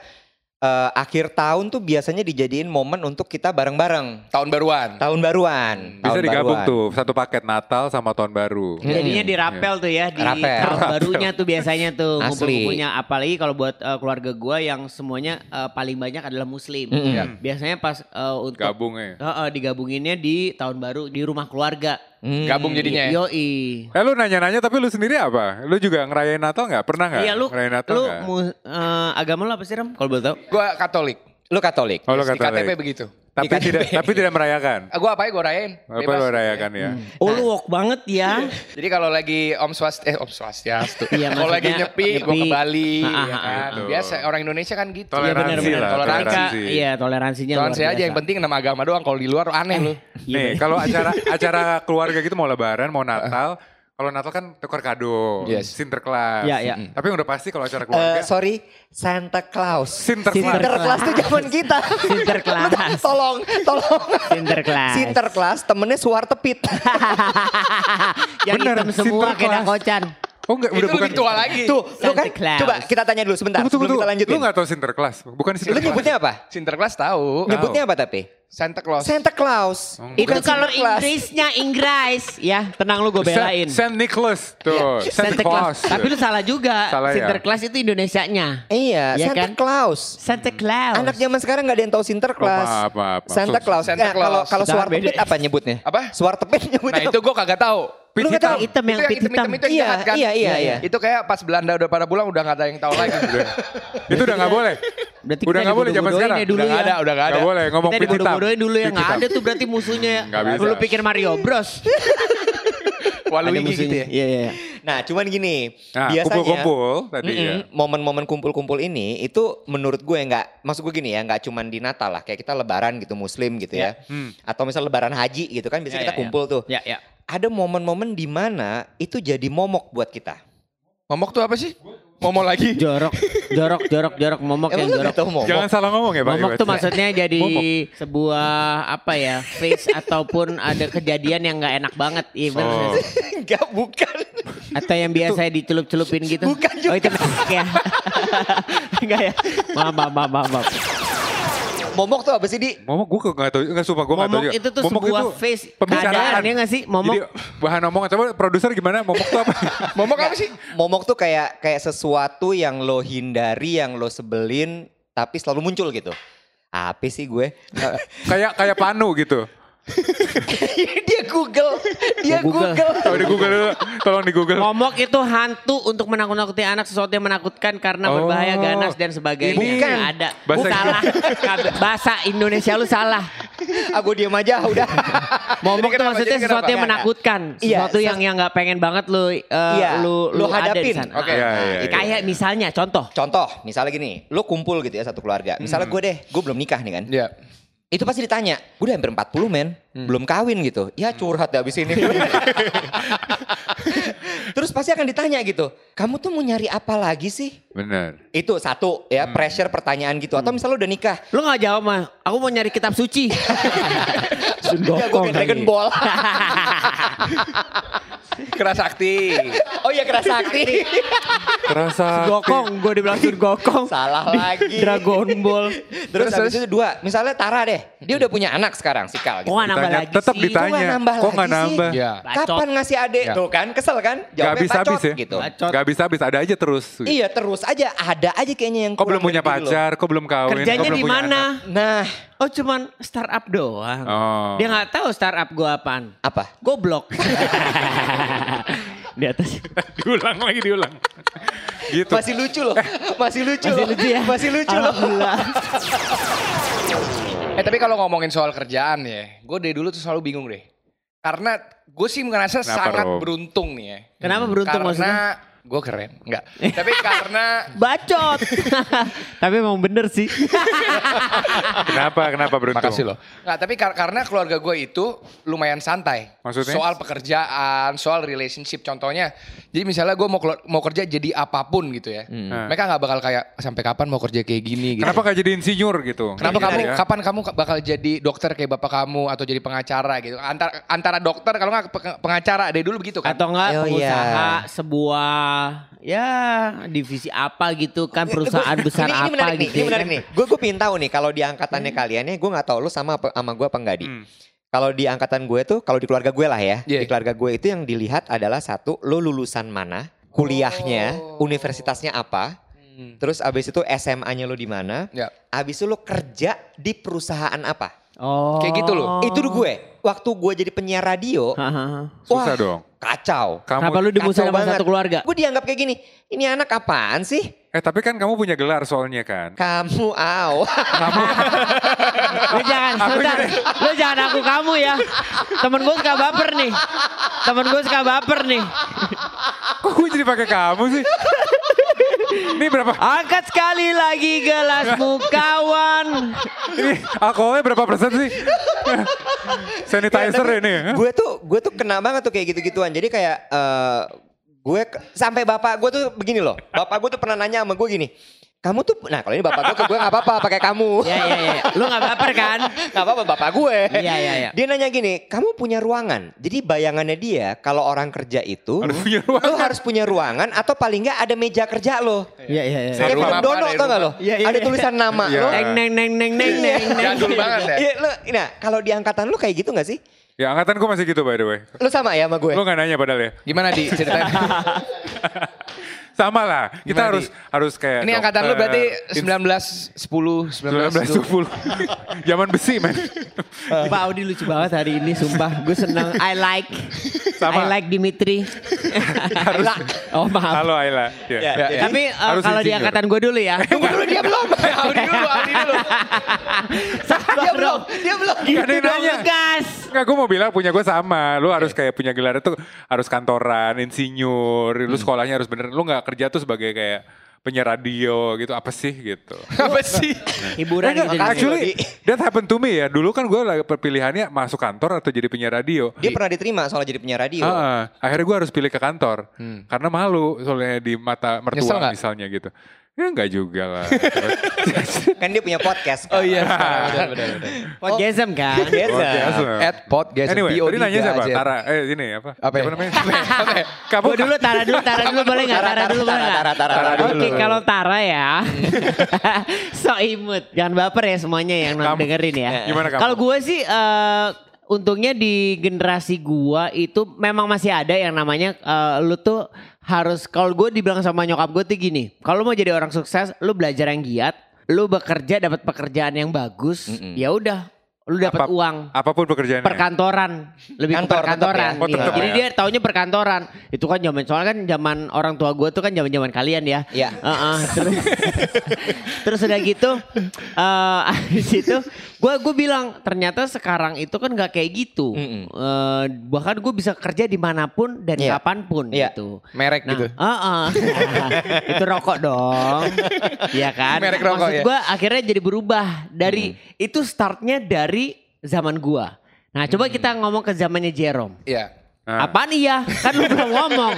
[SPEAKER 1] eh, akhir tahun tuh biasanya dijadiin momen untuk kita bareng-bareng
[SPEAKER 2] Tahun baruan.
[SPEAKER 1] tahun baruan
[SPEAKER 4] Hmm. Bisa
[SPEAKER 1] tahun
[SPEAKER 4] digabung
[SPEAKER 1] baruan.
[SPEAKER 4] tuh. Satu paket Natal sama tahun baru.
[SPEAKER 1] Iya,
[SPEAKER 3] Jadinya dirapel tuh ya di
[SPEAKER 1] Rapel.
[SPEAKER 3] tahun barunya tuh biasanya tuh
[SPEAKER 1] Asli.
[SPEAKER 3] ngumpul-ngumpulnya apalagi kalau buat eh, keluarga gua yang semuanya eh, paling banyak adalah muslim.
[SPEAKER 1] Mm-mm.
[SPEAKER 2] Ya.
[SPEAKER 3] Biasanya pas eh, untuk
[SPEAKER 4] Iya. Gabung ya.
[SPEAKER 3] Eh, eh, digabunginnya di tahun baru di rumah keluarga.
[SPEAKER 1] Hmm.
[SPEAKER 2] Gabung jadinya.
[SPEAKER 3] Iya.
[SPEAKER 2] ya?
[SPEAKER 3] Yoi.
[SPEAKER 4] Eh lu nanya-nanya tapi lu sendiri apa? Lu juga ngerayain Natal nggak? Pernah nggak?
[SPEAKER 3] Iya lu
[SPEAKER 4] ngerayain Natal
[SPEAKER 3] lu
[SPEAKER 4] nggak?
[SPEAKER 3] mu- eh, agama lu apa sih Ram? Kalau boleh tahu.
[SPEAKER 2] Gue Katolik.
[SPEAKER 1] lu Katolik
[SPEAKER 4] Oh, lu
[SPEAKER 2] Terus di
[SPEAKER 4] Katolik.
[SPEAKER 2] KTP begitu.
[SPEAKER 4] tapi
[SPEAKER 1] Ikan-
[SPEAKER 4] tidak tapi tidak merayakan.
[SPEAKER 2] Ah, Gue apa ya? Gue rayain.
[SPEAKER 4] Apa
[SPEAKER 2] Bebas.
[SPEAKER 4] lu rayakan ya?
[SPEAKER 3] Oh lu wok banget ya.
[SPEAKER 2] Jadi kalau lagi Om Swast eh Om Swastiastu.
[SPEAKER 3] Iya,
[SPEAKER 2] kalau lagi
[SPEAKER 3] maksudnya
[SPEAKER 2] nyepi, gue ke
[SPEAKER 3] nyepi.
[SPEAKER 2] Bali.
[SPEAKER 3] Ah, ah,
[SPEAKER 2] ya
[SPEAKER 3] ah,
[SPEAKER 2] kan?
[SPEAKER 4] ah.
[SPEAKER 2] Biasa orang Indonesia kan gitu.
[SPEAKER 4] Toleransi
[SPEAKER 2] Iya, bener-bener.
[SPEAKER 4] lah,
[SPEAKER 2] Toleransi.
[SPEAKER 4] toleransi.
[SPEAKER 3] Iya toleransinya
[SPEAKER 2] Toleransi
[SPEAKER 3] luar
[SPEAKER 2] aja yang
[SPEAKER 3] biasa.
[SPEAKER 2] penting enam agama doang. Kalau di luar aneh lu.
[SPEAKER 3] Iya,
[SPEAKER 4] Nih, kalau acara acara keluarga gitu mau lebaran, mau Natal,
[SPEAKER 3] Uh.
[SPEAKER 4] kalau Natal kan tukar kado,
[SPEAKER 2] Yes.
[SPEAKER 4] Sinterklas.
[SPEAKER 3] Iya, iya.
[SPEAKER 4] Tapi yang udah pasti kalau acara
[SPEAKER 1] Eh,
[SPEAKER 4] keluarga
[SPEAKER 1] sorry Santa Claus
[SPEAKER 4] Sinterklas.
[SPEAKER 1] Sinterklas tuh zaman kita
[SPEAKER 3] Sinterklas.
[SPEAKER 1] Lu tolong tolong
[SPEAKER 3] Sinterklas.
[SPEAKER 1] Sinterklas temennya suar tepit
[SPEAKER 3] Yang
[SPEAKER 4] Bener,
[SPEAKER 3] hitam semua
[SPEAKER 4] Sinterklas.
[SPEAKER 3] kayak kocan.
[SPEAKER 4] Oh enggak,
[SPEAKER 2] Itu
[SPEAKER 4] udah bukan
[SPEAKER 2] lebih tua lagi.
[SPEAKER 1] Tuh, lu kan,
[SPEAKER 3] Santa Claus.
[SPEAKER 1] coba kita tanya dulu sebentar
[SPEAKER 4] Tunggu, tunggu,
[SPEAKER 1] sebelum kita
[SPEAKER 4] tunggu.
[SPEAKER 1] lanjutin.
[SPEAKER 4] Lu gak tau Sinterklas? Bukan
[SPEAKER 1] Lu
[SPEAKER 4] Sinterklas.
[SPEAKER 1] nyebutnya apa?
[SPEAKER 2] Sinterklas tahu.
[SPEAKER 4] Nah.
[SPEAKER 1] Nyebutnya apa tapi?
[SPEAKER 2] Santa Claus.
[SPEAKER 1] Santa Claus.
[SPEAKER 4] Oh,
[SPEAKER 3] Itu
[SPEAKER 1] Bukan
[SPEAKER 3] kalau
[SPEAKER 1] Santa Claus.
[SPEAKER 3] Inggrisnya Inggris ya. Tenang lu gue belain.
[SPEAKER 4] Saint, Saint Nicholas. Tuh, Santa Claus.
[SPEAKER 3] Iya. Tapi lu salah juga.
[SPEAKER 4] Salah ya?
[SPEAKER 3] Sinterklas itu Indonesianya.
[SPEAKER 1] Iya,
[SPEAKER 3] Iya
[SPEAKER 1] Santa
[SPEAKER 3] kan?
[SPEAKER 1] Claus.
[SPEAKER 3] Santa Claus.
[SPEAKER 1] Anak zaman sekarang nggak ada yang tahu Sinterklas.
[SPEAKER 4] Oh, maaf, maaf, maaf.
[SPEAKER 1] Santa Claus.
[SPEAKER 2] Santa
[SPEAKER 1] Eh, Kalau
[SPEAKER 2] Claus.
[SPEAKER 1] kalau
[SPEAKER 3] Sudah
[SPEAKER 1] suar
[SPEAKER 3] beda.
[SPEAKER 1] tepit apa nyebutnya?
[SPEAKER 2] Apa?
[SPEAKER 1] Suar tepit
[SPEAKER 2] Nah
[SPEAKER 1] nyebutnya.
[SPEAKER 2] itu gue kagak tahu.
[SPEAKER 4] Pit
[SPEAKER 1] Lu nggak
[SPEAKER 4] hitam.
[SPEAKER 3] yang hitam yang
[SPEAKER 2] itu
[SPEAKER 3] pit hitam.
[SPEAKER 2] itu yang
[SPEAKER 1] Iya,
[SPEAKER 2] jahat kan?
[SPEAKER 1] iya, iya, iya.
[SPEAKER 2] Itu kayak pas Belanda udah pada pulang udah nggak ada yang tahu lagi.
[SPEAKER 4] Itu udah gak boleh.
[SPEAKER 3] Iya. Berarti
[SPEAKER 4] udah
[SPEAKER 3] kita
[SPEAKER 4] gak boleh zaman
[SPEAKER 3] dibodoh-bodohin
[SPEAKER 4] sekarang.
[SPEAKER 3] ya dulu
[SPEAKER 2] Udah nggak
[SPEAKER 3] ya.
[SPEAKER 2] ada, udah nggak ada.
[SPEAKER 4] Nggak boleh ngomong
[SPEAKER 3] Kita
[SPEAKER 4] pit hitam.
[SPEAKER 3] dibodoh-bodohin dulu ya.
[SPEAKER 4] Pit
[SPEAKER 3] Nggak
[SPEAKER 4] hitam.
[SPEAKER 3] ada tuh berarti musuhnya ya.
[SPEAKER 4] Nggak bisa.
[SPEAKER 3] Lu pikir Mario Bros. Ada
[SPEAKER 2] Waluigi gitu
[SPEAKER 3] musuhnya.
[SPEAKER 2] ya.
[SPEAKER 3] Iya, iya. iya.
[SPEAKER 1] Nah, cuman gini,
[SPEAKER 4] Nah,
[SPEAKER 1] biasanya
[SPEAKER 4] kumpul-kumpul tadi
[SPEAKER 1] Mm-mm,
[SPEAKER 4] ya.
[SPEAKER 1] momen-momen kumpul-kumpul ini itu menurut gue nggak, maksud gue gini ya, nggak cuman di Natal lah, kayak kita Lebaran gitu Muslim gitu ya,
[SPEAKER 4] Hmm.
[SPEAKER 1] atau misal Lebaran Haji gitu kan, biasanya
[SPEAKER 3] Ya,
[SPEAKER 1] kita
[SPEAKER 3] ya, ya.
[SPEAKER 1] kumpul tuh.
[SPEAKER 3] Ya, ya.
[SPEAKER 1] Ada momen-momen di mana itu jadi momok buat kita.
[SPEAKER 2] Momok tuh apa sih? Momok lagi.
[SPEAKER 3] Jorok, jorok, jorok, jorok, momok yang
[SPEAKER 1] Emang lu nggak
[SPEAKER 3] jorok.
[SPEAKER 1] tahu momok?
[SPEAKER 4] Jangan salah ngomong ya Pak
[SPEAKER 3] Momok
[SPEAKER 4] Iwet.
[SPEAKER 3] tuh maksudnya jadi
[SPEAKER 4] Momok.
[SPEAKER 3] sebuah apa ya face ataupun ada kejadian yang nggak enak banget, iya bener nggak
[SPEAKER 4] Oh.
[SPEAKER 3] sih?
[SPEAKER 1] Enggak, bukan.
[SPEAKER 3] Atau yang biasa dicelup-celupin gitu?
[SPEAKER 1] Bukan juga.
[SPEAKER 3] Oh itu mask ya? Enggak ya? Maaf, maaf, maaf, maaf, maaf.
[SPEAKER 1] Momok tuh apa sih, Di?
[SPEAKER 4] Momok gue nggak tahu, nggak sumpah gue nggak tahu.
[SPEAKER 3] Momok
[SPEAKER 4] juga.
[SPEAKER 3] itu tuh sebuah face keadaan, ya nggak sih? Momok.
[SPEAKER 4] Jadi, bahan omongan. Coba produser gimana? Momok tuh apa?
[SPEAKER 2] Momok apa sih?
[SPEAKER 1] Momok tuh kayak kayak sesuatu yang lo hindari, yang lo sebelin, tapi selalu muncul gitu. Apa sih gue?
[SPEAKER 4] kayak kayak panu gitu.
[SPEAKER 1] dia Google, dia
[SPEAKER 3] Oh, Google.
[SPEAKER 1] Google.
[SPEAKER 4] Tahu di Google dulu. Tolong di Google.
[SPEAKER 3] Momok itu hantu untuk menakut-nakuti anak sesuatu yang menakutkan karena
[SPEAKER 4] Oh.
[SPEAKER 3] berbahaya, ganas dan sebagainya.
[SPEAKER 4] Bukan.
[SPEAKER 3] Nggak ada.
[SPEAKER 4] Bahasa
[SPEAKER 3] Lu salah. Bahasa Indonesia lu salah.
[SPEAKER 1] Aku diem aja, udah.
[SPEAKER 3] Momok
[SPEAKER 2] Jadi
[SPEAKER 3] tuh
[SPEAKER 2] kenapa?
[SPEAKER 3] maksudnya
[SPEAKER 2] Jadi
[SPEAKER 3] sesuatu
[SPEAKER 2] kenapa?
[SPEAKER 3] yang
[SPEAKER 1] Nggak,
[SPEAKER 3] menakutkan,
[SPEAKER 1] nggak. Iya,
[SPEAKER 3] sesuatu
[SPEAKER 1] ses-
[SPEAKER 3] yang yang nggak pengen banget lu eh,
[SPEAKER 1] Iya,
[SPEAKER 3] lu
[SPEAKER 1] lu
[SPEAKER 3] ada di
[SPEAKER 1] hadapin.
[SPEAKER 3] sana.
[SPEAKER 2] Oke.
[SPEAKER 4] Iya, iya, iya.
[SPEAKER 3] Kayak misalnya contoh
[SPEAKER 1] Hmm. Contoh, misalnya gini, lo kumpul gitu ya satu keluarga. Misalnya gue deh, gue belum nikah nih kan.
[SPEAKER 2] Iya.
[SPEAKER 1] Itu pasti ditanya, gue udah hampir 40 men,
[SPEAKER 4] Hmm.
[SPEAKER 1] belum kawin gitu. Ya curhat deh abis ini. Terus pasti akan ditanya gitu, kamu tuh mau nyari apa lagi sih?
[SPEAKER 4] Bener.
[SPEAKER 1] Itu satu
[SPEAKER 4] Hmm.
[SPEAKER 1] ya, pressure pertanyaan gitu. Atau misalnya udah nikah,
[SPEAKER 3] Lu gak jawab mah, aku mau nyari kitab suci. Iya, Sun
[SPEAKER 1] ya gue
[SPEAKER 3] Gokong
[SPEAKER 1] main Dragon
[SPEAKER 3] lagi.
[SPEAKER 1] Ball.
[SPEAKER 2] Kerasakti.
[SPEAKER 1] oh iya kerasa aktif.
[SPEAKER 4] Terasa
[SPEAKER 3] Gokong, gue dibilang Sun Gokong.
[SPEAKER 1] Salah
[SPEAKER 3] Di
[SPEAKER 1] lagi.
[SPEAKER 3] Dragon Ball.
[SPEAKER 1] Terus habis itu dua, misalnya Tara deh, dia udah punya anak sekarang, sikal
[SPEAKER 3] Kok
[SPEAKER 1] gitu.
[SPEAKER 3] gak nambah
[SPEAKER 4] ditanya,
[SPEAKER 3] lagi
[SPEAKER 4] tetap
[SPEAKER 3] sih?
[SPEAKER 4] ditanya.
[SPEAKER 1] Kok nggak nambah
[SPEAKER 4] Hmm. Kok nggak
[SPEAKER 1] lagi sih?
[SPEAKER 4] nambah?
[SPEAKER 2] Iya.
[SPEAKER 3] Bacot.
[SPEAKER 1] Kapan ngasih adik?
[SPEAKER 4] Ya.
[SPEAKER 1] Tuh kan, kesel kan? Jawabnya
[SPEAKER 4] habis-habis
[SPEAKER 1] bacot
[SPEAKER 4] ya.
[SPEAKER 1] gitu.
[SPEAKER 3] Bacot.
[SPEAKER 4] Gak bisa habis ada aja terus.
[SPEAKER 1] Iya terus aja, ada aja kayaknya yang
[SPEAKER 4] Kok
[SPEAKER 1] kurang
[SPEAKER 4] belum
[SPEAKER 1] gitu
[SPEAKER 4] punya
[SPEAKER 1] dari diri lo.
[SPEAKER 4] pacar, kok belum kawin, kok
[SPEAKER 3] gitu Kerjanya
[SPEAKER 4] belum
[SPEAKER 3] di
[SPEAKER 4] punya
[SPEAKER 3] mana?
[SPEAKER 4] anak.
[SPEAKER 1] Nah,
[SPEAKER 3] Oh cuman startup doang.
[SPEAKER 4] Oh.
[SPEAKER 3] Dia nggak tahu startup gue apaan.
[SPEAKER 1] apa?
[SPEAKER 3] Goblok. di atas.
[SPEAKER 4] diulang lagi diulang. gitu.
[SPEAKER 1] Masih lucu loh, masih lucu
[SPEAKER 3] Masih
[SPEAKER 1] loh.
[SPEAKER 3] lucu ya?
[SPEAKER 1] Masih lucu loh.
[SPEAKER 3] Alhamdulillah.
[SPEAKER 2] Eh tapi kalau ngomongin soal kerjaan ya, gue dari dulu tuh selalu bingung deh. Karena gue sih merasa
[SPEAKER 4] Kenapa,
[SPEAKER 2] sangat
[SPEAKER 4] Rom?
[SPEAKER 2] beruntung nih ya.
[SPEAKER 3] Kenapa beruntung
[SPEAKER 2] karena
[SPEAKER 3] maksudnya?
[SPEAKER 2] gue keren, enggak. tapi karena
[SPEAKER 3] Bacot. Tapi emang bener sih.
[SPEAKER 4] Kenapa, kenapa beruntung?
[SPEAKER 2] Makasih loh. Nggak, tapi kar- karena keluarga gue itu lumayan santai.
[SPEAKER 4] Maksudnya?
[SPEAKER 2] Soal pekerjaan, soal relationship contohnya. Jadi misalnya gue mau keluar- mau kerja jadi apapun gitu ya. Mereka nggak bakal kayak sampai kapan mau kerja kayak gini gitu.
[SPEAKER 4] Hmm. Kenapa gak jadi insinyur gitu?
[SPEAKER 2] Kenapa
[SPEAKER 4] Iya,
[SPEAKER 2] kamu
[SPEAKER 4] ya.
[SPEAKER 2] kapan kamu ka- bakal jadi dokter kayak bapak kamu atau jadi pengacara gitu? Antara antara dokter kalau nggak pe- pengacara dari dulu begitu kan.
[SPEAKER 3] Atau enggak
[SPEAKER 1] Oh, iya.
[SPEAKER 3] pengusaha sebuah ya divisi apa gitu kan perusahaan
[SPEAKER 1] Gua- Eh,
[SPEAKER 3] besar
[SPEAKER 1] ini, ini
[SPEAKER 3] apa
[SPEAKER 1] menarik nih,
[SPEAKER 3] gitu. Hmm.
[SPEAKER 1] Ini menarik nih. Gue gue pingin tahu nih kalau di angkatannya kalian nih, gue nggak tahu lu sama apa, sama gue apa enggak di. Kalau di angkatan gue tuh, kalau di keluarga gue lah ya, di
[SPEAKER 2] Iya.
[SPEAKER 1] keluarga gue itu yang dilihat adalah satu, lu lulusan mana, kuliahnya,
[SPEAKER 2] Oh.
[SPEAKER 1] universitasnya apa, terus abis itu SMA-nya lu di mana,
[SPEAKER 2] Ya.
[SPEAKER 1] abis itu lu kerja di perusahaan apa.
[SPEAKER 3] Oh.
[SPEAKER 2] Kayak gitu loh.
[SPEAKER 1] Itu dulu gue, waktu gue jadi penyiar radio,
[SPEAKER 3] Hahaha.
[SPEAKER 4] Susah dong.
[SPEAKER 1] kacau.
[SPEAKER 4] Kamu,
[SPEAKER 3] Kenapa lu
[SPEAKER 1] Kacau
[SPEAKER 3] dimusuhin sama
[SPEAKER 1] banget.
[SPEAKER 3] satu keluarga?
[SPEAKER 1] Gue dianggap kayak gini, ini anak apaan sih?
[SPEAKER 4] Eh tapi kan kamu punya gelar soalnya kan.
[SPEAKER 1] Kamu aw.
[SPEAKER 3] Lu jangan, bentar. Lu jangan aku kamu ya. Temen gue suka baper nih. Temen gue suka baper nih.
[SPEAKER 4] Kok gue jadi pakai kamu sih? Ini berapa?
[SPEAKER 3] Angkat sekali lagi gelasmu kawan.
[SPEAKER 4] Ini alkoholnya berapa persen sih?
[SPEAKER 1] Iya,
[SPEAKER 4] Sanitizer
[SPEAKER 2] Iya,
[SPEAKER 1] Tapi
[SPEAKER 4] ini. ya?
[SPEAKER 1] Gue tuh gue tuh kena banget tuh kayak gitu-gituan. Jadi kayak eh, gue ke- sampai bapak gue tuh begini loh. Bapak gue tuh pernah nanya sama gue gini. Kamu tuh nah kalau ini bapak gue ke gue nggak apa-apa pakai kamu.
[SPEAKER 3] Ya ya ya. Lu gak baper kan?
[SPEAKER 1] Gak apa-apa bapak gue.
[SPEAKER 3] Iya, iya, iya.
[SPEAKER 1] Dia nanya gini, kamu punya ruangan. Jadi bayangannya dia kalau orang kerja itu
[SPEAKER 4] Harus punya
[SPEAKER 1] lo harus punya ruangan atau paling nggak ada meja kerja lo.
[SPEAKER 3] Iya iya iya.
[SPEAKER 1] Kayak
[SPEAKER 2] Rumah
[SPEAKER 1] film
[SPEAKER 2] apa,
[SPEAKER 1] dono
[SPEAKER 2] dari
[SPEAKER 1] tau gak lo?
[SPEAKER 3] Iya, iya,
[SPEAKER 1] Ada
[SPEAKER 3] iya.
[SPEAKER 1] tulisan nama
[SPEAKER 4] Iya.
[SPEAKER 1] lo.
[SPEAKER 3] Neng neng neng neng neng neng. neng.
[SPEAKER 2] Jadul banget ya.
[SPEAKER 1] Iya, lo, nah kalau di angkatan lo kayak gitu gak sih?
[SPEAKER 4] Ya angkatan gue masih gitu by the way.
[SPEAKER 1] Lo sama ya sama gue?
[SPEAKER 4] Lu gak nanya padahal ya.
[SPEAKER 2] Gimana di ceritain?
[SPEAKER 4] Sama lah. Kita
[SPEAKER 2] Gimana,
[SPEAKER 4] harus
[SPEAKER 2] Di?
[SPEAKER 4] harus kayak
[SPEAKER 2] Ini angkatan lu
[SPEAKER 4] dokter, eh,
[SPEAKER 2] berarti
[SPEAKER 4] ins-
[SPEAKER 2] 1910
[SPEAKER 4] 1910.
[SPEAKER 2] 1910.
[SPEAKER 4] Zaman besi men.
[SPEAKER 3] Pak Audi lucu banget hari ini sumpah. Gue seneng. I like.
[SPEAKER 4] Sama.
[SPEAKER 3] I like Dimitri.
[SPEAKER 4] harus.
[SPEAKER 3] Oh maaf.
[SPEAKER 4] Halo Ayla. Ya.
[SPEAKER 2] Ya, ya.
[SPEAKER 3] Tapi eh,
[SPEAKER 4] Harus
[SPEAKER 3] kalau di
[SPEAKER 4] insinyur.
[SPEAKER 3] angkatan gue dulu ya.
[SPEAKER 1] Tunggu dulu dia belum.
[SPEAKER 2] Audi dulu, Audi dulu.
[SPEAKER 1] dia belum, dia belum.
[SPEAKER 4] Gak ada yang
[SPEAKER 3] Gitu dong,
[SPEAKER 4] nanya.
[SPEAKER 3] Gas.
[SPEAKER 4] Enggak, gue mau bilang punya gue sama. Lu harus kayak punya gelar itu harus kantoran, insinyur,
[SPEAKER 2] Hmm.
[SPEAKER 4] lu sekolahnya harus bener. Lu nggak kerja tuh sebagai kayak penyiar radio gitu apa sih gitu.
[SPEAKER 2] Apa sih?
[SPEAKER 3] Hiburan
[SPEAKER 4] Enggak,
[SPEAKER 3] gitu.
[SPEAKER 4] actually that happened to me ya. Dulu kan gue lagi perpilihannya masuk kantor atau jadi penyiar radio.
[SPEAKER 1] Dia pernah diterima soal jadi penyiar
[SPEAKER 2] Iya.
[SPEAKER 1] radio.
[SPEAKER 4] Heeh.
[SPEAKER 2] Ah.
[SPEAKER 4] akhirnya gue harus pilih ke kantor karena malu soalnya di mata
[SPEAKER 2] Hmm. Nyesel
[SPEAKER 4] mertua
[SPEAKER 2] nggak?
[SPEAKER 4] misalnya gitu. Ya enggak juga lah.
[SPEAKER 1] Kan dia punya podcast.
[SPEAKER 2] Oh iya, benar benar benar.
[SPEAKER 1] Oh,
[SPEAKER 3] Podgasm kan.
[SPEAKER 1] Podcast. ya?
[SPEAKER 2] At podcast
[SPEAKER 4] Nah. anyway, tadi nanya siapa?
[SPEAKER 2] POD.
[SPEAKER 4] Tara, eh ini apa?
[SPEAKER 2] Apa ya?
[SPEAKER 4] Siapa namanya?
[SPEAKER 2] Apa ya?
[SPEAKER 4] Kamu
[SPEAKER 3] Gue dulu Tara dulu, Tara dulu boleh nggak?
[SPEAKER 1] Tara,
[SPEAKER 3] Tara dulu
[SPEAKER 1] Tara,
[SPEAKER 3] boleh nggak?
[SPEAKER 1] Tara, Tara, Tara
[SPEAKER 3] Oke, kalau Tara ya, so imut. Jangan baper ya semuanya yang non
[SPEAKER 4] Kamu- Eh,
[SPEAKER 3] dengerin ya.
[SPEAKER 4] Gimana kamu?
[SPEAKER 3] Kalau gue sih, eh, untungnya di generasi gue itu memang masih ada yang namanya eh, lu tuh harus. Kalau gue dibilang sama nyokap gue tuh gini, kalau mau jadi orang sukses, lu belajar yang giat, lu bekerja dapat pekerjaan yang bagus, ya udah. lu dapat
[SPEAKER 4] Apa-
[SPEAKER 3] uang
[SPEAKER 4] Apapun pekerjaannya.
[SPEAKER 3] perkantoran lebih
[SPEAKER 1] Kantor tetap
[SPEAKER 3] kantor,
[SPEAKER 1] ya?
[SPEAKER 3] perkantoran
[SPEAKER 1] Oh,
[SPEAKER 3] gitu.
[SPEAKER 4] tetap
[SPEAKER 3] jadi
[SPEAKER 4] ya.
[SPEAKER 3] dia taunya perkantoran itu kan zaman soalnya kan zaman orang tua gue tuh kan zaman zaman kalian ya
[SPEAKER 1] Iya.
[SPEAKER 3] Heeh, terus terus udah gitu eh abis itu gue gue bilang ternyata sekarang itu kan nggak kayak gitu
[SPEAKER 1] Mm-mm.
[SPEAKER 3] Eh, bahkan gue bisa kerja dimanapun dan
[SPEAKER 1] Iya.
[SPEAKER 3] kapanpun
[SPEAKER 1] Iya.
[SPEAKER 3] gitu
[SPEAKER 2] Merek gitu.
[SPEAKER 4] Nah.
[SPEAKER 3] Nah, heeh. itu rokok dong. Iya kan?
[SPEAKER 2] Merek rokok
[SPEAKER 3] Maksud
[SPEAKER 2] ya.
[SPEAKER 3] gua akhirnya jadi berubah dari itu startnya dari zaman gua. Nah, coba kita ngomong ke zamannya Jerome.
[SPEAKER 2] Iya.
[SPEAKER 4] Nah.
[SPEAKER 3] Apaan iya? Kan lu belum ngomong.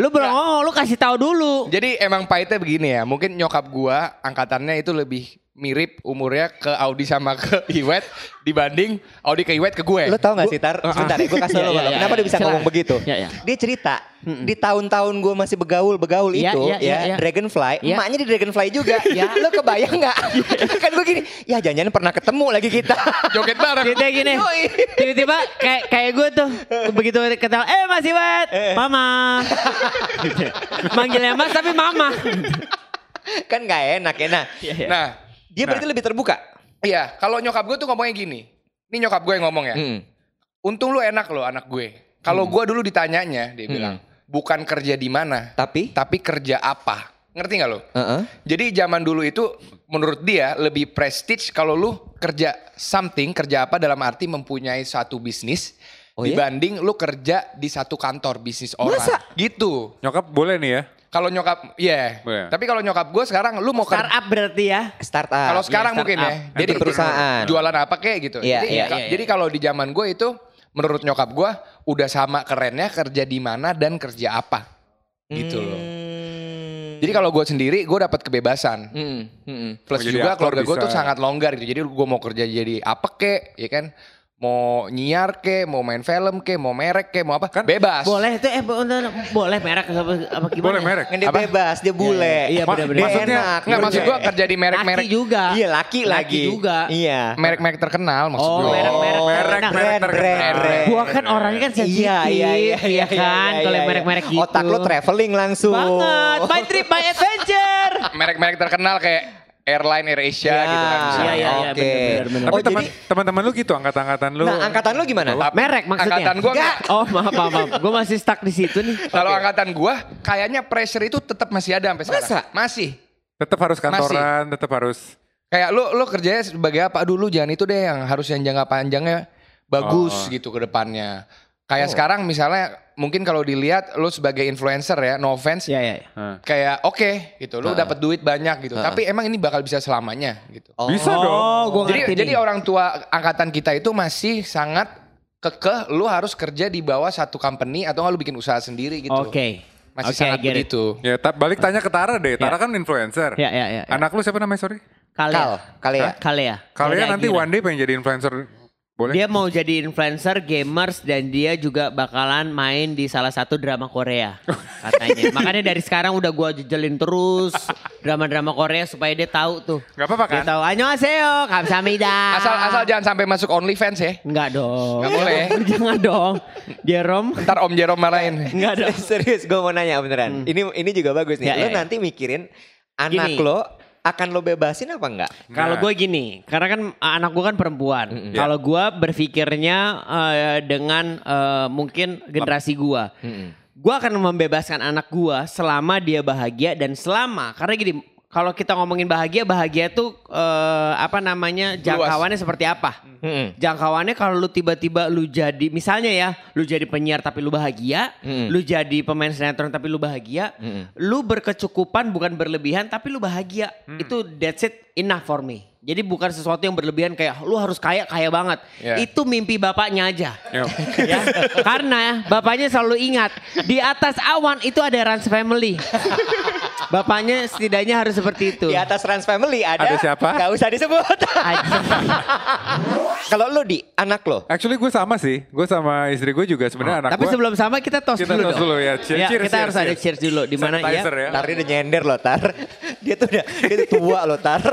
[SPEAKER 3] Lu belum ngomong, lu kasih tahu dulu.
[SPEAKER 2] Jadi emang pahitnya begini ya. Mungkin nyokap gua angkatannya itu lebih mirip umurnya ke Audi sama ke Iwet dibanding Audi ke Iwet ke
[SPEAKER 1] Eh,
[SPEAKER 2] gue.
[SPEAKER 1] Lo tau gak sih
[SPEAKER 2] Ah,
[SPEAKER 1] Tar? Sebentar ya gue kasih tau lo.
[SPEAKER 3] Iya, iya, iya.
[SPEAKER 1] Kenapa dia bisa
[SPEAKER 3] Silakan.
[SPEAKER 1] ngomong begitu?
[SPEAKER 3] Iya, iya.
[SPEAKER 1] Dia cerita
[SPEAKER 3] Mm-mm.
[SPEAKER 1] di tahun-tahun gue masih begaul-begaul
[SPEAKER 3] Iya,
[SPEAKER 1] itu
[SPEAKER 3] iya, iya, iya.
[SPEAKER 1] ya Dragonfly,
[SPEAKER 3] Iya.
[SPEAKER 1] emaknya di Dragonfly juga.
[SPEAKER 3] Iya.
[SPEAKER 1] Lo kebayang gak? kan gue gini, ya jangan-jangan pernah ketemu lagi kita.
[SPEAKER 2] Joget bareng.
[SPEAKER 3] Tiba-tiba gini,
[SPEAKER 1] Yoi.
[SPEAKER 3] tiba-tiba kayak kayak gue tuh begitu ketawa, eh Mas Iwet, Mama. Gitu. Manggilnya Mas tapi Mama.
[SPEAKER 1] kan gak enak ya. Nah,
[SPEAKER 3] Iya,
[SPEAKER 2] Nah,
[SPEAKER 1] dia berarti lebih terbuka.
[SPEAKER 2] iya, kalau nyokap gue tuh ngomongnya gini. Ini nyokap gue yang ngomong ya.
[SPEAKER 1] Mm.
[SPEAKER 2] Untung lu enak loh anak gue. Kalau gue dulu ditanyanya dia
[SPEAKER 1] Hmm.
[SPEAKER 2] bilang, "Bukan kerja di mana,
[SPEAKER 1] Tapi,
[SPEAKER 2] tapi kerja apa?" Ngerti nggak lo?
[SPEAKER 1] Heeh.
[SPEAKER 2] Jadi zaman dulu itu menurut dia lebih prestige kalau lu kerja something, kerja apa dalam arti mempunyai satu bisnis
[SPEAKER 1] Oh iya?
[SPEAKER 2] dibanding lu kerja di satu kantor bisnis orang.
[SPEAKER 1] Masa?
[SPEAKER 2] Gitu.
[SPEAKER 4] Nyokap boleh nih ya.
[SPEAKER 2] Kalau nyokap, iya.
[SPEAKER 4] Iya.
[SPEAKER 2] Tapi kalau nyokap gue sekarang lu mau kerja
[SPEAKER 3] Startup berarti ya.
[SPEAKER 1] startup.
[SPEAKER 2] kalau sekarang
[SPEAKER 1] Iya,
[SPEAKER 2] mungkin ya,
[SPEAKER 1] startup.
[SPEAKER 2] jadi
[SPEAKER 1] Entrepreneur. perusahaan.
[SPEAKER 2] Jualan apa kayak gitu.
[SPEAKER 1] Iya,
[SPEAKER 2] jadi
[SPEAKER 1] iya,
[SPEAKER 2] ka-
[SPEAKER 3] iya,
[SPEAKER 2] jadi kalau di zaman gue itu menurut nyokap gue udah sama kerennya kerja di mana dan kerja apa. Gitu loh.
[SPEAKER 1] Hmm.
[SPEAKER 2] Jadi kalau gue sendiri gue dapat kebebasan.
[SPEAKER 1] Mm-mm, mm-mm.
[SPEAKER 2] Plus
[SPEAKER 4] Mau jadi
[SPEAKER 2] juga
[SPEAKER 4] aktor
[SPEAKER 2] keluarga gue
[SPEAKER 4] bisa.
[SPEAKER 2] tuh sangat longgar gitu. Jadi gue mau kerja jadi apa kek, ya kan? Mau nyiar kek, mau main film kek, mau merek kek, mau apa? Kan bebas.
[SPEAKER 3] Boleh itu eh bo- bentar, boleh merek apa, apa gimana?
[SPEAKER 4] Boleh
[SPEAKER 3] ya?
[SPEAKER 4] merek.
[SPEAKER 1] Kan dia
[SPEAKER 2] Apa?
[SPEAKER 1] bebas, dia bule.
[SPEAKER 3] Iya,
[SPEAKER 4] Ma-
[SPEAKER 3] benar-benar.
[SPEAKER 4] maksudnya
[SPEAKER 1] Enak.
[SPEAKER 2] Enggak maksud gue kerja di
[SPEAKER 3] Laki
[SPEAKER 2] merek-merek
[SPEAKER 3] juga.
[SPEAKER 1] Iya, laki
[SPEAKER 3] Laki
[SPEAKER 1] lagi.
[SPEAKER 3] juga.
[SPEAKER 1] Iya.
[SPEAKER 2] merek-merek terkenal maksud
[SPEAKER 3] Oh,
[SPEAKER 2] gue.
[SPEAKER 4] merek,
[SPEAKER 3] merek-merek. Nah,
[SPEAKER 4] merek,
[SPEAKER 1] brand,
[SPEAKER 4] terkenal.
[SPEAKER 1] brand, brand.
[SPEAKER 3] Gua kan orangnya kan sensitif, iya, kan? Kalau yang merek-merek gitu.
[SPEAKER 1] iya, Otak lo traveling langsung.
[SPEAKER 3] banget. My trip, my adventure.
[SPEAKER 2] merek-merek terkenal kayak airline AirAsia
[SPEAKER 1] Ya,
[SPEAKER 2] gitu kan.
[SPEAKER 3] Iya,
[SPEAKER 2] misalnya.
[SPEAKER 3] iya, iya,
[SPEAKER 1] Oke.
[SPEAKER 3] benar, benar, benar.
[SPEAKER 4] Tapi
[SPEAKER 1] Oh,
[SPEAKER 4] teman,
[SPEAKER 1] jadi
[SPEAKER 4] teman-teman lu gitu angkatan-angkatan lu.
[SPEAKER 1] nah angkatan lo gimana?
[SPEAKER 3] merek maksudnya.
[SPEAKER 2] Angkatan gua
[SPEAKER 1] Enggak.
[SPEAKER 2] enggak.
[SPEAKER 3] Oh maaf maaf, maaf. gue masih stuck di situ nih.
[SPEAKER 2] Kalau angkatan gua kayaknya pressure itu tetap masih ada sampai sekarang.
[SPEAKER 1] Masa?
[SPEAKER 2] Masih.
[SPEAKER 4] Tetap harus kantoran, tetap harus.
[SPEAKER 2] Kayak lu lu kerjanya sebagai apa dulu jangan itu deh yang harus yang jangka panjangnya
[SPEAKER 3] Oh.
[SPEAKER 2] bagus gitu ke depannya. Kayak sekarang misalnya mungkin kalau dilihat lu sebagai influencer ya, no offense,
[SPEAKER 3] Iya iya.
[SPEAKER 2] kayak oke gitu, lu dapat duit banyak gitu. Tapi emang ini bakal bisa selamanya gitu.
[SPEAKER 4] Bisa dong.
[SPEAKER 3] Oh gue ngerti
[SPEAKER 2] Jadi
[SPEAKER 3] nih.
[SPEAKER 2] jadi orang tua angkatan kita itu masih sangat kekeh lu harus kerja di bawah satu company atau nggak lu bikin usaha sendiri gitu.
[SPEAKER 3] Oke.
[SPEAKER 2] Masih
[SPEAKER 3] Oke,
[SPEAKER 2] sangat
[SPEAKER 3] I get it.
[SPEAKER 2] begitu.
[SPEAKER 4] Ya, ta- balik tanya ke Tara deh. Tara
[SPEAKER 3] Ya.
[SPEAKER 4] kan influencer.
[SPEAKER 3] Ya ya ya. ya.
[SPEAKER 4] Anak lu siapa namanya sorry?
[SPEAKER 1] Kal,
[SPEAKER 3] Kalea.
[SPEAKER 1] Kalea.
[SPEAKER 3] Kalea.
[SPEAKER 4] Kalian nanti
[SPEAKER 3] Agira.
[SPEAKER 4] one day pengen jadi influencer. Boleh?
[SPEAKER 3] Dia mau jadi influencer, gamers, dan dia juga bakalan main di salah satu drama Korea katanya. Makanya dari sekarang udah gua jejelin terus drama-drama Korea supaya dia tahu tuh.
[SPEAKER 4] Gak apa-apa kan?
[SPEAKER 3] Dia tahu, annyeonghaseyo, kamsahamnida.
[SPEAKER 2] Asal
[SPEAKER 1] Ah.
[SPEAKER 2] asal jangan sampai masuk OnlyFans ya.
[SPEAKER 3] Enggak dong.
[SPEAKER 2] Nggak boleh.
[SPEAKER 3] Jangan dong. Jerome.
[SPEAKER 2] Ntar Om Jerome
[SPEAKER 1] Eh,
[SPEAKER 2] marahin. Nah,
[SPEAKER 3] Enggak dong. Hmm.
[SPEAKER 1] Serius, gue mau nanya beneran. Ini ini juga bagus nih.
[SPEAKER 3] Ya,
[SPEAKER 1] lo
[SPEAKER 3] ya, ya.
[SPEAKER 1] nanti mikirin anak
[SPEAKER 3] Gini.
[SPEAKER 1] lo akan lo bebasin apa enggak?
[SPEAKER 4] Nah.
[SPEAKER 3] Kalau gue gini, karena kan anak gue kan perempuan.
[SPEAKER 1] Mm-mm.
[SPEAKER 3] Kalau gue berpikirnya eh, dengan eh, mungkin generasi gue. Gue akan membebaskan anak gue selama dia bahagia dan selama karena gini, kalau kita ngomongin bahagia, bahagia tuh eh, apa namanya jangkauannya seperti apa?
[SPEAKER 1] Mm-mm.
[SPEAKER 3] Jangkauannya kalau lu tiba-tiba lu jadi misalnya ya, lu jadi penyiar tapi lu bahagia,
[SPEAKER 1] Mm-mm.
[SPEAKER 3] lu jadi pemain sinetron tapi lu bahagia,
[SPEAKER 1] Mm-mm.
[SPEAKER 3] lu berkecukupan bukan berlebihan tapi lu bahagia. Itu that's it enough for me. Jadi bukan sesuatu yang berlebihan kayak lu harus kaya kaya banget.
[SPEAKER 2] Ya.
[SPEAKER 3] Itu mimpi bapaknya aja.
[SPEAKER 4] Yo.
[SPEAKER 3] ya. Karena bapaknya selalu ingat di atas awan itu ada Rans Family. Bapaknya setidaknya harus seperti itu.
[SPEAKER 1] Di atas Trans Family ada.
[SPEAKER 4] Ada siapa?
[SPEAKER 1] Gak usah disebut.
[SPEAKER 3] Aja.
[SPEAKER 1] Kalau lo di anak lo,
[SPEAKER 4] Actually gue sama sih. Gue sama istri gue juga sebenarnya anak
[SPEAKER 3] Tapi
[SPEAKER 4] gua-
[SPEAKER 3] sebelum sama kita tos
[SPEAKER 4] Kita
[SPEAKER 3] dulu
[SPEAKER 4] tos
[SPEAKER 3] dong.
[SPEAKER 4] dulu ya. Cheers,
[SPEAKER 3] Ya,
[SPEAKER 4] cheers,
[SPEAKER 3] kita
[SPEAKER 4] cheers,
[SPEAKER 3] harus ada
[SPEAKER 4] cheers.
[SPEAKER 3] cheers dulu di mana ya?
[SPEAKER 4] Sanitizer ya.
[SPEAKER 1] Tar dia udah nyender loh Tar. Dia tuh udah, dia tuh tua loh Tar.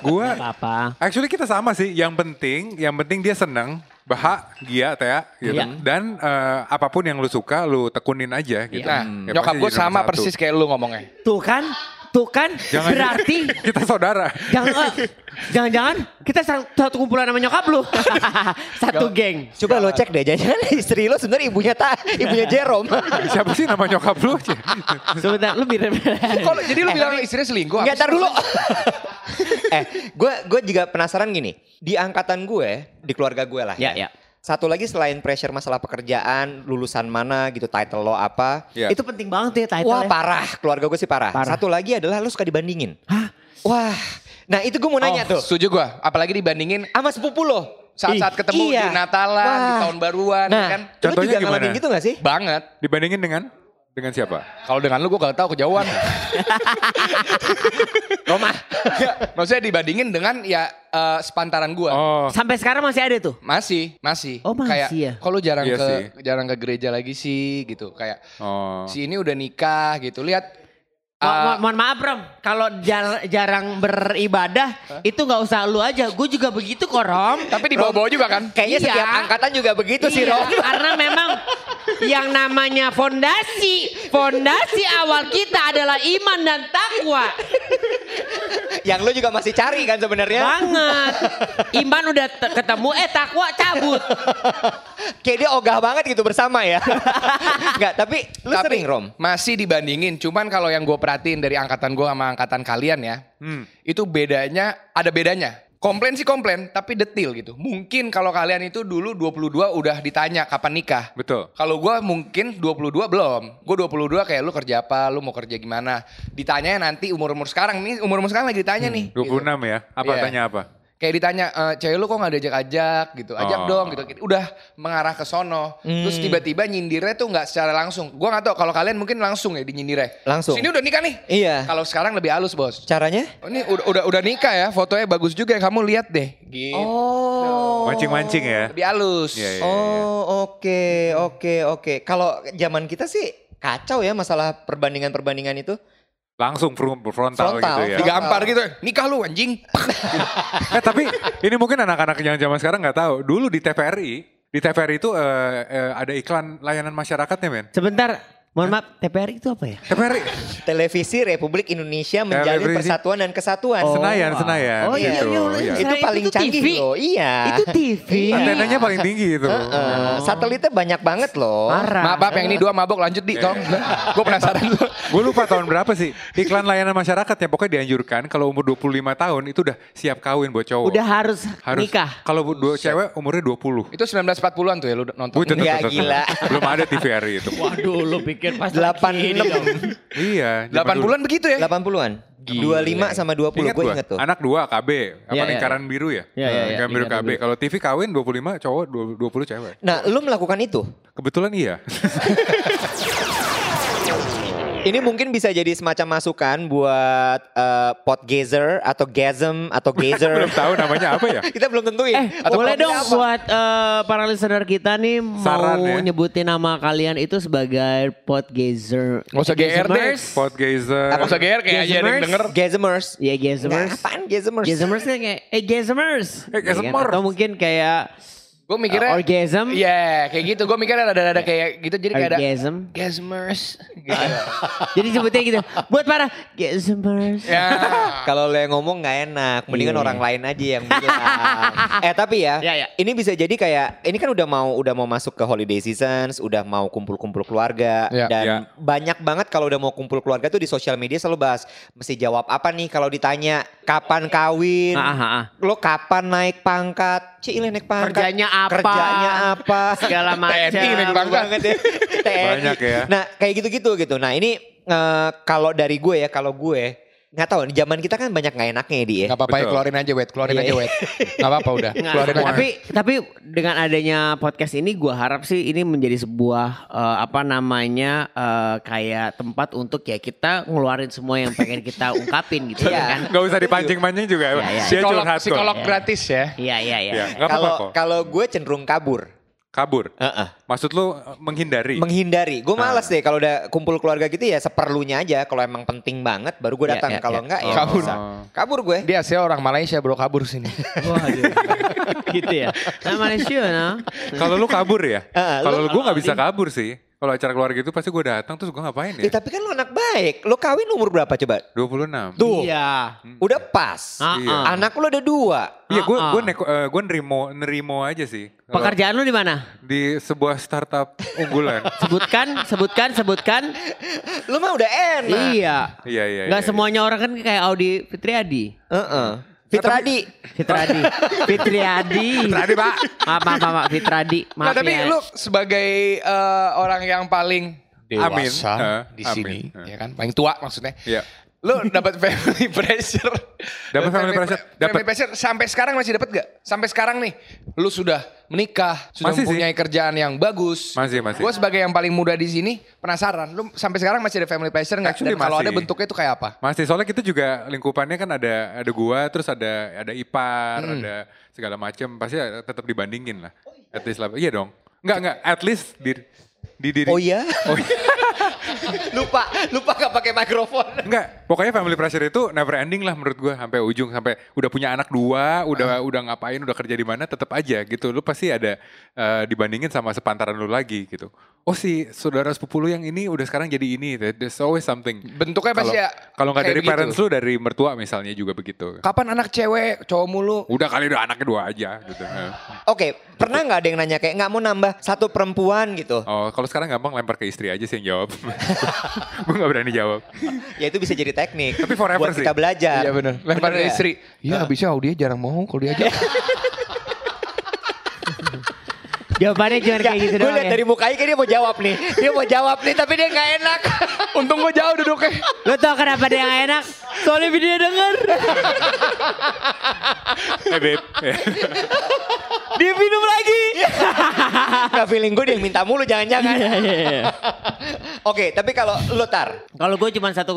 [SPEAKER 4] Gue
[SPEAKER 3] Nggak apa-apa.
[SPEAKER 4] Actually kita sama sih. Yang penting, yang penting dia seneng, bahagia, tea, gitu.
[SPEAKER 3] Iya.
[SPEAKER 4] Dan eh, apapun yang lu suka, lu tekunin aja gitu. Ya,
[SPEAKER 2] Nah,
[SPEAKER 1] iya,
[SPEAKER 2] nyokap
[SPEAKER 4] pasti
[SPEAKER 2] gue
[SPEAKER 4] jadi nomor
[SPEAKER 2] sama
[SPEAKER 4] satu.
[SPEAKER 2] persis kayak lu ngomongnya.
[SPEAKER 3] Tuh kan? disatukan
[SPEAKER 4] Jangan-
[SPEAKER 3] berarti
[SPEAKER 4] Kita saudara.
[SPEAKER 3] jangan eh, jangan-jangan kita satu satu kumpulan sama nyokap lu. satu geng.
[SPEAKER 1] Coba lo cek deh, jangan istri lo sebenarnya ibunya ta, ibunya Jerome.
[SPEAKER 4] Siapa sih nama nyokap lu?
[SPEAKER 3] Sebentar lu biar
[SPEAKER 2] Kalau jadi lu
[SPEAKER 1] Eh,
[SPEAKER 2] bilang
[SPEAKER 1] tapi-
[SPEAKER 2] istrinya selingkuh.
[SPEAKER 1] Enggak
[SPEAKER 2] apa
[SPEAKER 1] tar dulu. eh, gue gue juga penasaran gini. Di angkatan gue, di keluarga gue lah.
[SPEAKER 3] Ya, ya.
[SPEAKER 1] Satu lagi selain pressure masalah pekerjaan, lulusan mana gitu, title lo apa.
[SPEAKER 4] Ya.
[SPEAKER 3] Itu penting banget ya title.
[SPEAKER 1] Wah
[SPEAKER 3] ya.
[SPEAKER 1] parah, keluarga gue sih parah.
[SPEAKER 3] Parah.
[SPEAKER 1] Satu lagi adalah lo suka dibandingin. Wah, nah itu gue mau nanya
[SPEAKER 2] sih?
[SPEAKER 1] tuh.
[SPEAKER 2] Oh, Setuju gua, apalagi dibandingin
[SPEAKER 1] Sama sepupu lo. Ih,
[SPEAKER 2] saat-saat ketemu
[SPEAKER 1] iya.
[SPEAKER 2] di Natalan, di
[SPEAKER 1] Wah.
[SPEAKER 2] tahun baruan
[SPEAKER 1] Nah,
[SPEAKER 2] kan
[SPEAKER 1] lo
[SPEAKER 4] Contohnya
[SPEAKER 1] juga
[SPEAKER 4] gimana?
[SPEAKER 1] ngalamin gitu gak sih?
[SPEAKER 2] banget.
[SPEAKER 4] Dibandingin dengan dengan siapa?
[SPEAKER 2] Kalau dengan lu gue gak tahu kejauhan.
[SPEAKER 1] Roma.
[SPEAKER 2] Enggak, maksudnya dibandingin dengan ya eh, sepantaran gua.
[SPEAKER 4] Oh,
[SPEAKER 3] Sampai sekarang masih ada tuh.
[SPEAKER 2] Masih, masih.
[SPEAKER 3] Oh, masih
[SPEAKER 2] kayak,
[SPEAKER 3] ya?
[SPEAKER 2] Kalau jarang
[SPEAKER 4] Iya
[SPEAKER 2] ke
[SPEAKER 4] sih.
[SPEAKER 2] jarang ke gereja lagi sih gitu. Kayak
[SPEAKER 4] oh.
[SPEAKER 2] si ini udah nikah gitu. Lihat
[SPEAKER 3] Mo-
[SPEAKER 2] ah,
[SPEAKER 3] mo- mohon maaf Rom, kalau jar- jarang beribadah itu nggak usah lu aja, gue juga begitu kok Rom.
[SPEAKER 2] tapi dibawa-bawa juga kan?
[SPEAKER 1] Kayaknya
[SPEAKER 3] Iya.
[SPEAKER 1] setiap angkatan juga begitu sih
[SPEAKER 3] Iya,
[SPEAKER 1] Rom.
[SPEAKER 3] Karena memang yang namanya fondasi, fondasi awal kita adalah iman dan takwa.
[SPEAKER 1] Yang lo juga masih cari kan
[SPEAKER 3] Ya.
[SPEAKER 1] sebenarnya.
[SPEAKER 3] Banget. Iman udah te- ketemu eh takwa cabut.
[SPEAKER 1] Kayak dia ogah banget gitu bersama ya. Enggak, tapi lu
[SPEAKER 2] Tapi
[SPEAKER 1] sering Rom.
[SPEAKER 2] Masih dibandingin. Cuman kalau yang gue perhatiin dari angkatan gue sama angkatan kalian ya.
[SPEAKER 1] Hmm.
[SPEAKER 2] Itu bedanya, ada bedanya. Komplain sih komplain, tapi detil gitu. Mungkin kalau kalian itu dulu 22 udah ditanya kapan nikah.
[SPEAKER 4] Betul.
[SPEAKER 2] Kalau gue mungkin 22 belum. Gue 22 kayak lu kerja apa, lu mau kerja gimana. Ditanya nanti umur-umur sekarang. Nih umur-umur sekarang lagi ditanya
[SPEAKER 1] Hmm,
[SPEAKER 2] nih.
[SPEAKER 4] 26
[SPEAKER 2] gitu.
[SPEAKER 4] ya. Apa
[SPEAKER 2] Iya.
[SPEAKER 4] tanya apa?
[SPEAKER 2] Kayak ditanya, e, cewek lu kok gak diajak-ajak gitu. Ajak
[SPEAKER 4] Oh.
[SPEAKER 2] dong gitu. Udah mengarah ke sono. Terus tiba-tiba nyindirnya tuh gak secara langsung. Gue gak tahu kalau kalian mungkin langsung ya dinyindirnya.
[SPEAKER 1] Langsung.
[SPEAKER 2] Sini udah nikah nih.
[SPEAKER 1] Iya.
[SPEAKER 2] Kalau sekarang lebih halus bos.
[SPEAKER 1] Caranya?
[SPEAKER 2] Oh, Ini udah, udah udah nikah ya, fotonya bagus juga ya, kamu lihat deh. Gitu.
[SPEAKER 1] Oh.
[SPEAKER 4] Mancing-mancing ya.
[SPEAKER 2] Lebih halus.
[SPEAKER 4] Iya, iya.
[SPEAKER 1] Oh, oke, oke, oke. Kalau zaman kita sih kacau ya masalah perbandingan-perbandingan itu.
[SPEAKER 4] Langsung fron- frontal,
[SPEAKER 1] Frontal.
[SPEAKER 4] gitu ya.
[SPEAKER 2] Digampar gitu, nikah lu anjing.
[SPEAKER 4] Eh tapi ini mungkin anak-anak yang zaman sekarang nggak tahu. Dulu di TVRI, di TVRI itu eh, eh, ada iklan layanan masyarakatnya men.
[SPEAKER 3] Sebentar, mohon maaf, TPR itu apa ya?
[SPEAKER 4] TVRI
[SPEAKER 1] Televisi Republik Indonesia menjalin
[SPEAKER 4] Televisi. Oh.
[SPEAKER 1] persatuan dan kesatuan.
[SPEAKER 4] Senayan, Senayan.
[SPEAKER 3] Oh, iya,
[SPEAKER 4] gitu.
[SPEAKER 3] iya, iya.
[SPEAKER 1] Itu
[SPEAKER 3] Senayan
[SPEAKER 1] paling
[SPEAKER 3] itu
[SPEAKER 1] canggih
[SPEAKER 3] TV.
[SPEAKER 1] loh. Iya.
[SPEAKER 3] Itu TV.
[SPEAKER 4] Antenanya paling tinggi itu.
[SPEAKER 1] Heeh, Satelitnya banyak banget loh.
[SPEAKER 3] Parah.
[SPEAKER 2] Maaf, maaf yang ini dua mabok lanjut di
[SPEAKER 4] Iya,
[SPEAKER 2] tolong. Gue penasaran dulu.
[SPEAKER 4] Gue lupa tahun berapa sih. Iklan layanan masyarakat yang pokoknya dianjurkan kalau umur 25 tahun itu udah siap kawin buat cowok.
[SPEAKER 3] Udah Oh. harus,
[SPEAKER 4] Harus.
[SPEAKER 3] nikah.
[SPEAKER 4] Kalau bu- dua cewek umurnya 20.
[SPEAKER 2] Itu 1940-an tuh ya lu nonton.
[SPEAKER 4] Wih, tuh, tuh,
[SPEAKER 1] Nggak,
[SPEAKER 4] tuh, tuh, tuh.
[SPEAKER 1] gila.
[SPEAKER 4] Belum ada TVRI itu.
[SPEAKER 3] Waduh, lu pikir pas
[SPEAKER 1] Delapan
[SPEAKER 3] ini
[SPEAKER 1] enam.
[SPEAKER 4] iya.
[SPEAKER 2] 8 bulan begitu ya?
[SPEAKER 1] 80-an. 25 sama 20
[SPEAKER 4] Ingat
[SPEAKER 1] gue
[SPEAKER 4] gua,
[SPEAKER 1] inget tuh.
[SPEAKER 4] Anak dua KB, apa
[SPEAKER 3] Iya, iya,
[SPEAKER 4] lingkaran biru ya?
[SPEAKER 3] Iya, iya, iya,
[SPEAKER 4] Lingkaran biru
[SPEAKER 3] lingkaran
[SPEAKER 4] KB. Kalau TV kawin 25 cowok, 20 cewek.
[SPEAKER 1] Nah, lu melakukan itu?
[SPEAKER 4] Kebetulan iya.
[SPEAKER 1] Ini mungkin bisa jadi semacam masukan buat eh, podgazer atau gasm atau gazer.
[SPEAKER 4] Belum tahu namanya apa ya?
[SPEAKER 1] Kita belum tentuin.
[SPEAKER 3] Eh, boleh dong buat eh, para listener kita nih
[SPEAKER 4] Saran
[SPEAKER 3] mau
[SPEAKER 4] ya.
[SPEAKER 3] nyebutin nama kalian itu sebagai podgazer.
[SPEAKER 2] Nggak usah GR deh.
[SPEAKER 3] Gazmers.
[SPEAKER 4] Podgazer.
[SPEAKER 2] Gak usah GR kayak aja ada yang
[SPEAKER 3] Gazmers.
[SPEAKER 2] denger.
[SPEAKER 1] Gazmers.
[SPEAKER 3] Iya
[SPEAKER 1] Nah,
[SPEAKER 3] gazmers.
[SPEAKER 1] apaan gazmers?
[SPEAKER 3] Gazmers kan kayak eh gazmers.
[SPEAKER 4] Eh, gazmers.
[SPEAKER 3] Ya kan? Atau mungkin kayak
[SPEAKER 2] Gue mikirnya.
[SPEAKER 3] Uh, orgasm.
[SPEAKER 2] Iya, kayak gitu. Gue mikirnya ada-ada kayak gitu. Jadi kayak ada.
[SPEAKER 3] orgasm.
[SPEAKER 2] Gasmers. Gitu.
[SPEAKER 3] Jadi sebutnya gitu. Buat para gazmers.
[SPEAKER 2] ya.
[SPEAKER 1] Kalau lo yang ngomong nggak enak, mendingan
[SPEAKER 3] Iya.
[SPEAKER 1] orang lain aja yang bilang. eh tapi ya,
[SPEAKER 3] Ya, ya.
[SPEAKER 1] ini bisa jadi kayak ini kan udah mau udah mau masuk ke holiday seasons, udah mau kumpul-kumpul keluarga
[SPEAKER 2] Ya.
[SPEAKER 1] dan
[SPEAKER 4] Ya.
[SPEAKER 1] banyak banget kalau udah mau kumpul keluarga tuh di sosial media selalu bahas mesti jawab apa nih kalau ditanya kapan kawin,
[SPEAKER 3] Ah, ah, ah.
[SPEAKER 1] lo kapan naik pangkat, Cile naik pangkat,
[SPEAKER 3] Kerjanya apa?
[SPEAKER 1] kerjanya apa,
[SPEAKER 3] Segala macam.
[SPEAKER 2] TNI naik bangka.
[SPEAKER 1] banget ya. TNI.
[SPEAKER 4] Banyak ya.
[SPEAKER 1] Nah kayak gitu-gitu gitu. Nah ini eh, kalau dari gue ya, kalau gue nggak tahu. Di zaman kita kan banyak nggak enaknya ya, Di. ya.
[SPEAKER 2] Gak apa-apa ya
[SPEAKER 4] Betul.
[SPEAKER 2] keluarin aja wet, keluarin
[SPEAKER 1] Iya.
[SPEAKER 2] aja wet. Gak apa-apa udah,
[SPEAKER 3] Nggak,
[SPEAKER 2] keluarin aja.
[SPEAKER 3] tapi tapi dengan adanya podcast ini gua harap sih ini menjadi sebuah eh, apa namanya eh, kayak tempat untuk ya kita ngeluarin semua yang pengen kita ungkapin gitu ya kan.
[SPEAKER 4] Gak usah dipancing-pancing juga.
[SPEAKER 3] Iya, iya.
[SPEAKER 4] Dia
[SPEAKER 2] psikolog,
[SPEAKER 4] curhat kok.
[SPEAKER 2] psikolog gratis ya.
[SPEAKER 3] Iya iya iya.
[SPEAKER 4] Iya, nggak apa-apa
[SPEAKER 1] Kalau
[SPEAKER 4] kok.
[SPEAKER 1] kalau gue cenderung kabur,
[SPEAKER 4] Kabur.
[SPEAKER 1] Heeh.
[SPEAKER 4] Maksud lu eh, menghindari.
[SPEAKER 1] menghindari. Gue malas deh kalau udah kumpul keluarga gitu ya seperlunya aja. Kalau emang penting banget, baru
[SPEAKER 4] Iya,
[SPEAKER 1] gue
[SPEAKER 3] Ya,
[SPEAKER 1] datang.
[SPEAKER 3] ya,
[SPEAKER 1] kalau
[SPEAKER 3] ya.
[SPEAKER 1] enggak
[SPEAKER 4] Oh,
[SPEAKER 1] ya
[SPEAKER 2] Kabur.
[SPEAKER 1] bisa. Kabur gue.
[SPEAKER 2] Dia asli orang Malaysia bro kabur sini.
[SPEAKER 3] Waduh. iya. gitu ya. Nah Malaysia nah.
[SPEAKER 4] Kalau lu kabur ya?
[SPEAKER 1] Ah,
[SPEAKER 4] Kalau
[SPEAKER 1] lu-
[SPEAKER 4] lu gue gak bisa kabur sih. Kalau acara keluarga itu pasti gue datang terus gue ngapain
[SPEAKER 1] Ya,
[SPEAKER 4] ya?
[SPEAKER 1] tapi kan lo anak baik. Lo kawin umur berapa coba?
[SPEAKER 4] 26.
[SPEAKER 1] Tuh.
[SPEAKER 3] Iya.
[SPEAKER 1] Udah pas.
[SPEAKER 3] Ah,
[SPEAKER 4] Hmm. Iya.
[SPEAKER 3] ah.
[SPEAKER 1] Anak lo ada dua.
[SPEAKER 4] Iya, gue
[SPEAKER 3] Ah, ah.
[SPEAKER 4] gue neko, eh, gue nerimo nerimo aja sih. Kalau
[SPEAKER 3] Pekerjaan lu di mana?
[SPEAKER 4] di sebuah startup unggulan.
[SPEAKER 3] Sebutkan, sebutkan, sebutkan.
[SPEAKER 1] Lo mah udah enak.
[SPEAKER 3] iya.
[SPEAKER 4] Iya iya.
[SPEAKER 3] Nggak
[SPEAKER 4] iya,
[SPEAKER 3] semuanya orang kan kayak Audi Fitriadi.
[SPEAKER 1] Heeh. Fitradi.
[SPEAKER 3] Fitriadi. Fitriadi. Fitriadi, Pak. Maaf, maaf, maaf, Pak. Fitriadi.
[SPEAKER 2] Nah,
[SPEAKER 3] Maaf
[SPEAKER 2] tapi
[SPEAKER 3] ya.
[SPEAKER 2] lu sebagai eh, orang yang paling
[SPEAKER 4] Amin. Eh,
[SPEAKER 2] dewasa di
[SPEAKER 4] amin.
[SPEAKER 2] sini,
[SPEAKER 4] Eh.
[SPEAKER 2] ya kan? Paling tua maksudnya.
[SPEAKER 4] Iya.
[SPEAKER 2] Lu dapat family pressure.
[SPEAKER 4] Dapat family pressure, dapat.
[SPEAKER 2] Family pressure sampai sekarang masih dapat gak? Sampai sekarang nih, lu sudah menikah, sudah
[SPEAKER 4] Masih sih.
[SPEAKER 2] mempunyai kerjaan yang bagus.
[SPEAKER 4] Masih, masih.
[SPEAKER 2] Gue sebagai yang paling muda di sini penasaran, lu sampai sekarang masih ada family pressure nggak?
[SPEAKER 4] Actually
[SPEAKER 2] Dan kalau ada
[SPEAKER 4] masih.
[SPEAKER 2] bentuknya itu kayak apa?
[SPEAKER 4] Masih soalnya kita juga lingkupannya kan ada ada gua terus ada ada ipar
[SPEAKER 1] Hmm.
[SPEAKER 4] ada segala macam pasti ada- tetap dibandingin lah. At least lah. Iya dong. Enggak enggak at least di di diri.
[SPEAKER 1] Oh iya?
[SPEAKER 4] Oh iya.
[SPEAKER 1] lupa, lupa gak pakai mikrofon.
[SPEAKER 4] Enggak, pokoknya family pressure itu never ending lah menurut gua sampai ujung sampai udah punya anak dua,
[SPEAKER 2] Ah.
[SPEAKER 4] udah udah ngapain, udah kerja di mana tetap aja gitu. Lu pasti ada eh, dibandingin sama sepantaran lu lagi gitu. Oh si saudara sepupu lu yang ini udah sekarang jadi ini. There's always something.
[SPEAKER 2] Bentuknya pasti
[SPEAKER 4] Kalau-
[SPEAKER 2] ya
[SPEAKER 4] Kalau nggak
[SPEAKER 2] kayak gitu.
[SPEAKER 4] dari
[SPEAKER 2] begitu.
[SPEAKER 4] parents lu dari mertua misalnya juga begitu.
[SPEAKER 2] Kapan anak cewek, cowok mulu?
[SPEAKER 4] Udah kali udah anaknya dua aja gitu. Eh.
[SPEAKER 1] Oke, pernah nggak ada yang nanya kayak nggak mau nambah satu perempuan gitu?
[SPEAKER 4] Oh, kalau sekarang gampang lempar ke istri aja sih yang jawab. Gue nggak berani jawab.
[SPEAKER 1] Ya itu bisa jadi teknik.
[SPEAKER 4] Tapi
[SPEAKER 1] Buat
[SPEAKER 4] forever sih.
[SPEAKER 1] kita belajar.
[SPEAKER 2] Iya benar. Lempar
[SPEAKER 1] Bener ya? Iya.
[SPEAKER 2] istri. Iya, habisnya Audia jarang mau kalau diajak.
[SPEAKER 3] Jawabannya jangan kayak gitu
[SPEAKER 1] gue
[SPEAKER 3] doang
[SPEAKER 1] liat
[SPEAKER 3] ya.
[SPEAKER 1] dari mukanya kayak dia mau jawab nih. Dia mau jawab nih tapi dia nggak enak.
[SPEAKER 2] Untung gue jauh duduknya.
[SPEAKER 3] Lo tau kenapa dia nggak enak? Soalnya video dia denger.
[SPEAKER 4] Eh, babe.
[SPEAKER 3] dia minum lagi.
[SPEAKER 1] Gak feeling gue dia yang minta mulu
[SPEAKER 3] Iya,
[SPEAKER 1] jangan-jangan.
[SPEAKER 3] iya, iya.
[SPEAKER 1] Oke, tapi kalau lo tar.
[SPEAKER 3] Kalau gue cuma satu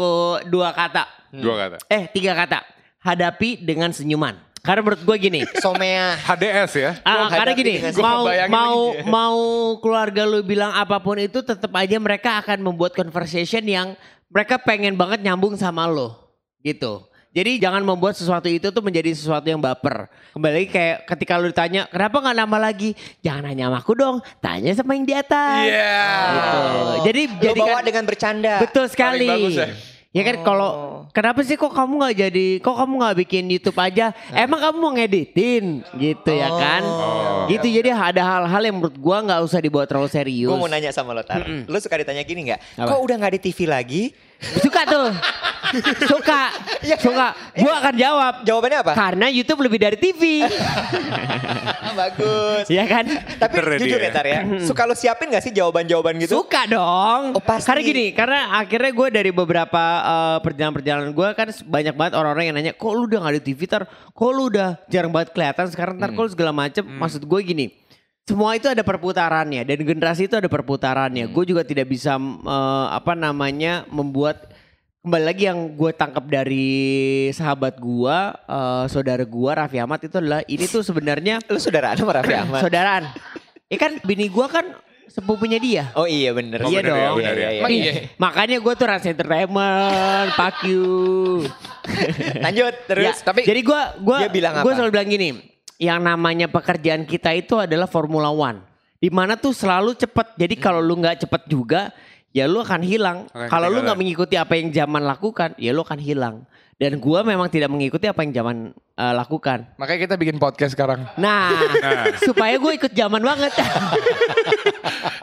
[SPEAKER 3] dua kata.
[SPEAKER 4] Dua kata.
[SPEAKER 3] Eh tiga kata. Hadapi dengan senyuman. Karena menurut gue gini.
[SPEAKER 1] Somea.
[SPEAKER 4] HDS ya.
[SPEAKER 3] Ah,
[SPEAKER 1] Gua
[SPEAKER 3] karena
[SPEAKER 1] hadapi
[SPEAKER 3] gini,
[SPEAKER 1] dengan-
[SPEAKER 2] Gua
[SPEAKER 3] mau
[SPEAKER 2] ngebayangin
[SPEAKER 3] mau
[SPEAKER 2] lagi.
[SPEAKER 3] mau keluarga lu bilang apapun itu tetap aja mereka akan membuat conversation yang mereka pengen banget nyambung sama lo. Gitu. Jadi jangan membuat sesuatu itu tuh menjadi sesuatu yang baper. Kembali lagi kayak ketika lu ditanya, "Kenapa nggak nama lagi?" Jangan nanya sama aku dong, tanya sama yang di atas.
[SPEAKER 2] Iya.
[SPEAKER 3] Gitu. Jadi
[SPEAKER 1] Lo
[SPEAKER 3] jadikan-
[SPEAKER 1] bawa dengan bercanda.
[SPEAKER 3] Betul sekali.
[SPEAKER 2] bagus ya.
[SPEAKER 3] Ya kan kalau
[SPEAKER 1] Oh.
[SPEAKER 3] kenapa sih kok kamu nggak jadi kok kamu nggak bikin YouTube aja?
[SPEAKER 1] Nah.
[SPEAKER 3] Emang kamu mau ngeditin gitu
[SPEAKER 1] Oh.
[SPEAKER 3] ya kan? Gitu jadi ada hal-hal yang menurut gua nggak usah dibawa terlalu serius.
[SPEAKER 1] Gue Iya. mau nanya sama lo tar. Lo suka ditanya gini nggak?
[SPEAKER 3] Apa?
[SPEAKER 1] Kok udah nggak di TV lagi?
[SPEAKER 3] Suka tuh. Suka.
[SPEAKER 1] Iya kan?
[SPEAKER 3] Suka. Gua akan jawab.
[SPEAKER 1] Jawabannya apa?
[SPEAKER 3] Karena YouTube lebih dari TV.
[SPEAKER 1] Bagus.
[SPEAKER 3] ya kan?
[SPEAKER 1] Tapi
[SPEAKER 4] Pinter ya
[SPEAKER 1] jujur
[SPEAKER 4] dia.
[SPEAKER 1] ya Tar ya, suka lo siapin gak sih jawaban-jawaban gitu?
[SPEAKER 3] Suka dong.
[SPEAKER 1] Oh, pasti.
[SPEAKER 3] Karena gini, karena akhirnya gue dari beberapa eh, perjalanan-perjalanan gue kan banyak banget orang-orang yang nanya, kok lu udah gak ada TV tar, kok lu udah jarang banget kelihatan sekarang
[SPEAKER 1] Hmm.
[SPEAKER 3] tar, kok lu segala macem. Maksud gue gini, semua itu ada perputarannya dan generasi itu ada perputarannya.
[SPEAKER 1] Hmm.
[SPEAKER 3] Gue juga tidak bisa eh, apa namanya membuat kembali lagi yang gue tangkap dari sahabat gue, eh, saudara gue Raffi Ahmad itu adalah ini tuh sebenarnya
[SPEAKER 1] Lo saudara sama Raffi Ahmad?
[SPEAKER 3] saudaraan. Ya kan bini gue kan sepupunya dia.
[SPEAKER 1] Oh iya bener.
[SPEAKER 4] Oh,
[SPEAKER 1] iya
[SPEAKER 4] bener ya,
[SPEAKER 1] dong.
[SPEAKER 4] bener ya.
[SPEAKER 1] Iya, iya,
[SPEAKER 2] Emang
[SPEAKER 1] iya.
[SPEAKER 2] iya.
[SPEAKER 3] Makanya gue tuh rasa entertainment, fuck you.
[SPEAKER 1] Lanjut terus.
[SPEAKER 3] Ya,
[SPEAKER 1] tapi
[SPEAKER 3] jadi gue
[SPEAKER 1] Dia
[SPEAKER 3] gua,
[SPEAKER 1] bilang apa?
[SPEAKER 3] gua selalu bilang gini, yang namanya pekerjaan kita itu adalah Formula One. Dimana tuh selalu cepet. Jadi kalau lu nggak cepet juga, ya lu akan hilang.
[SPEAKER 4] Akan
[SPEAKER 3] Kalau lu
[SPEAKER 4] ketinggalan.
[SPEAKER 3] nggak mengikuti apa yang zaman lakukan, ya lu akan hilang. Dan gue memang tidak mengikuti apa yang zaman eh, lakukan.
[SPEAKER 2] Makanya kita bikin podcast sekarang.
[SPEAKER 3] Nah, supaya gue ikut zaman banget.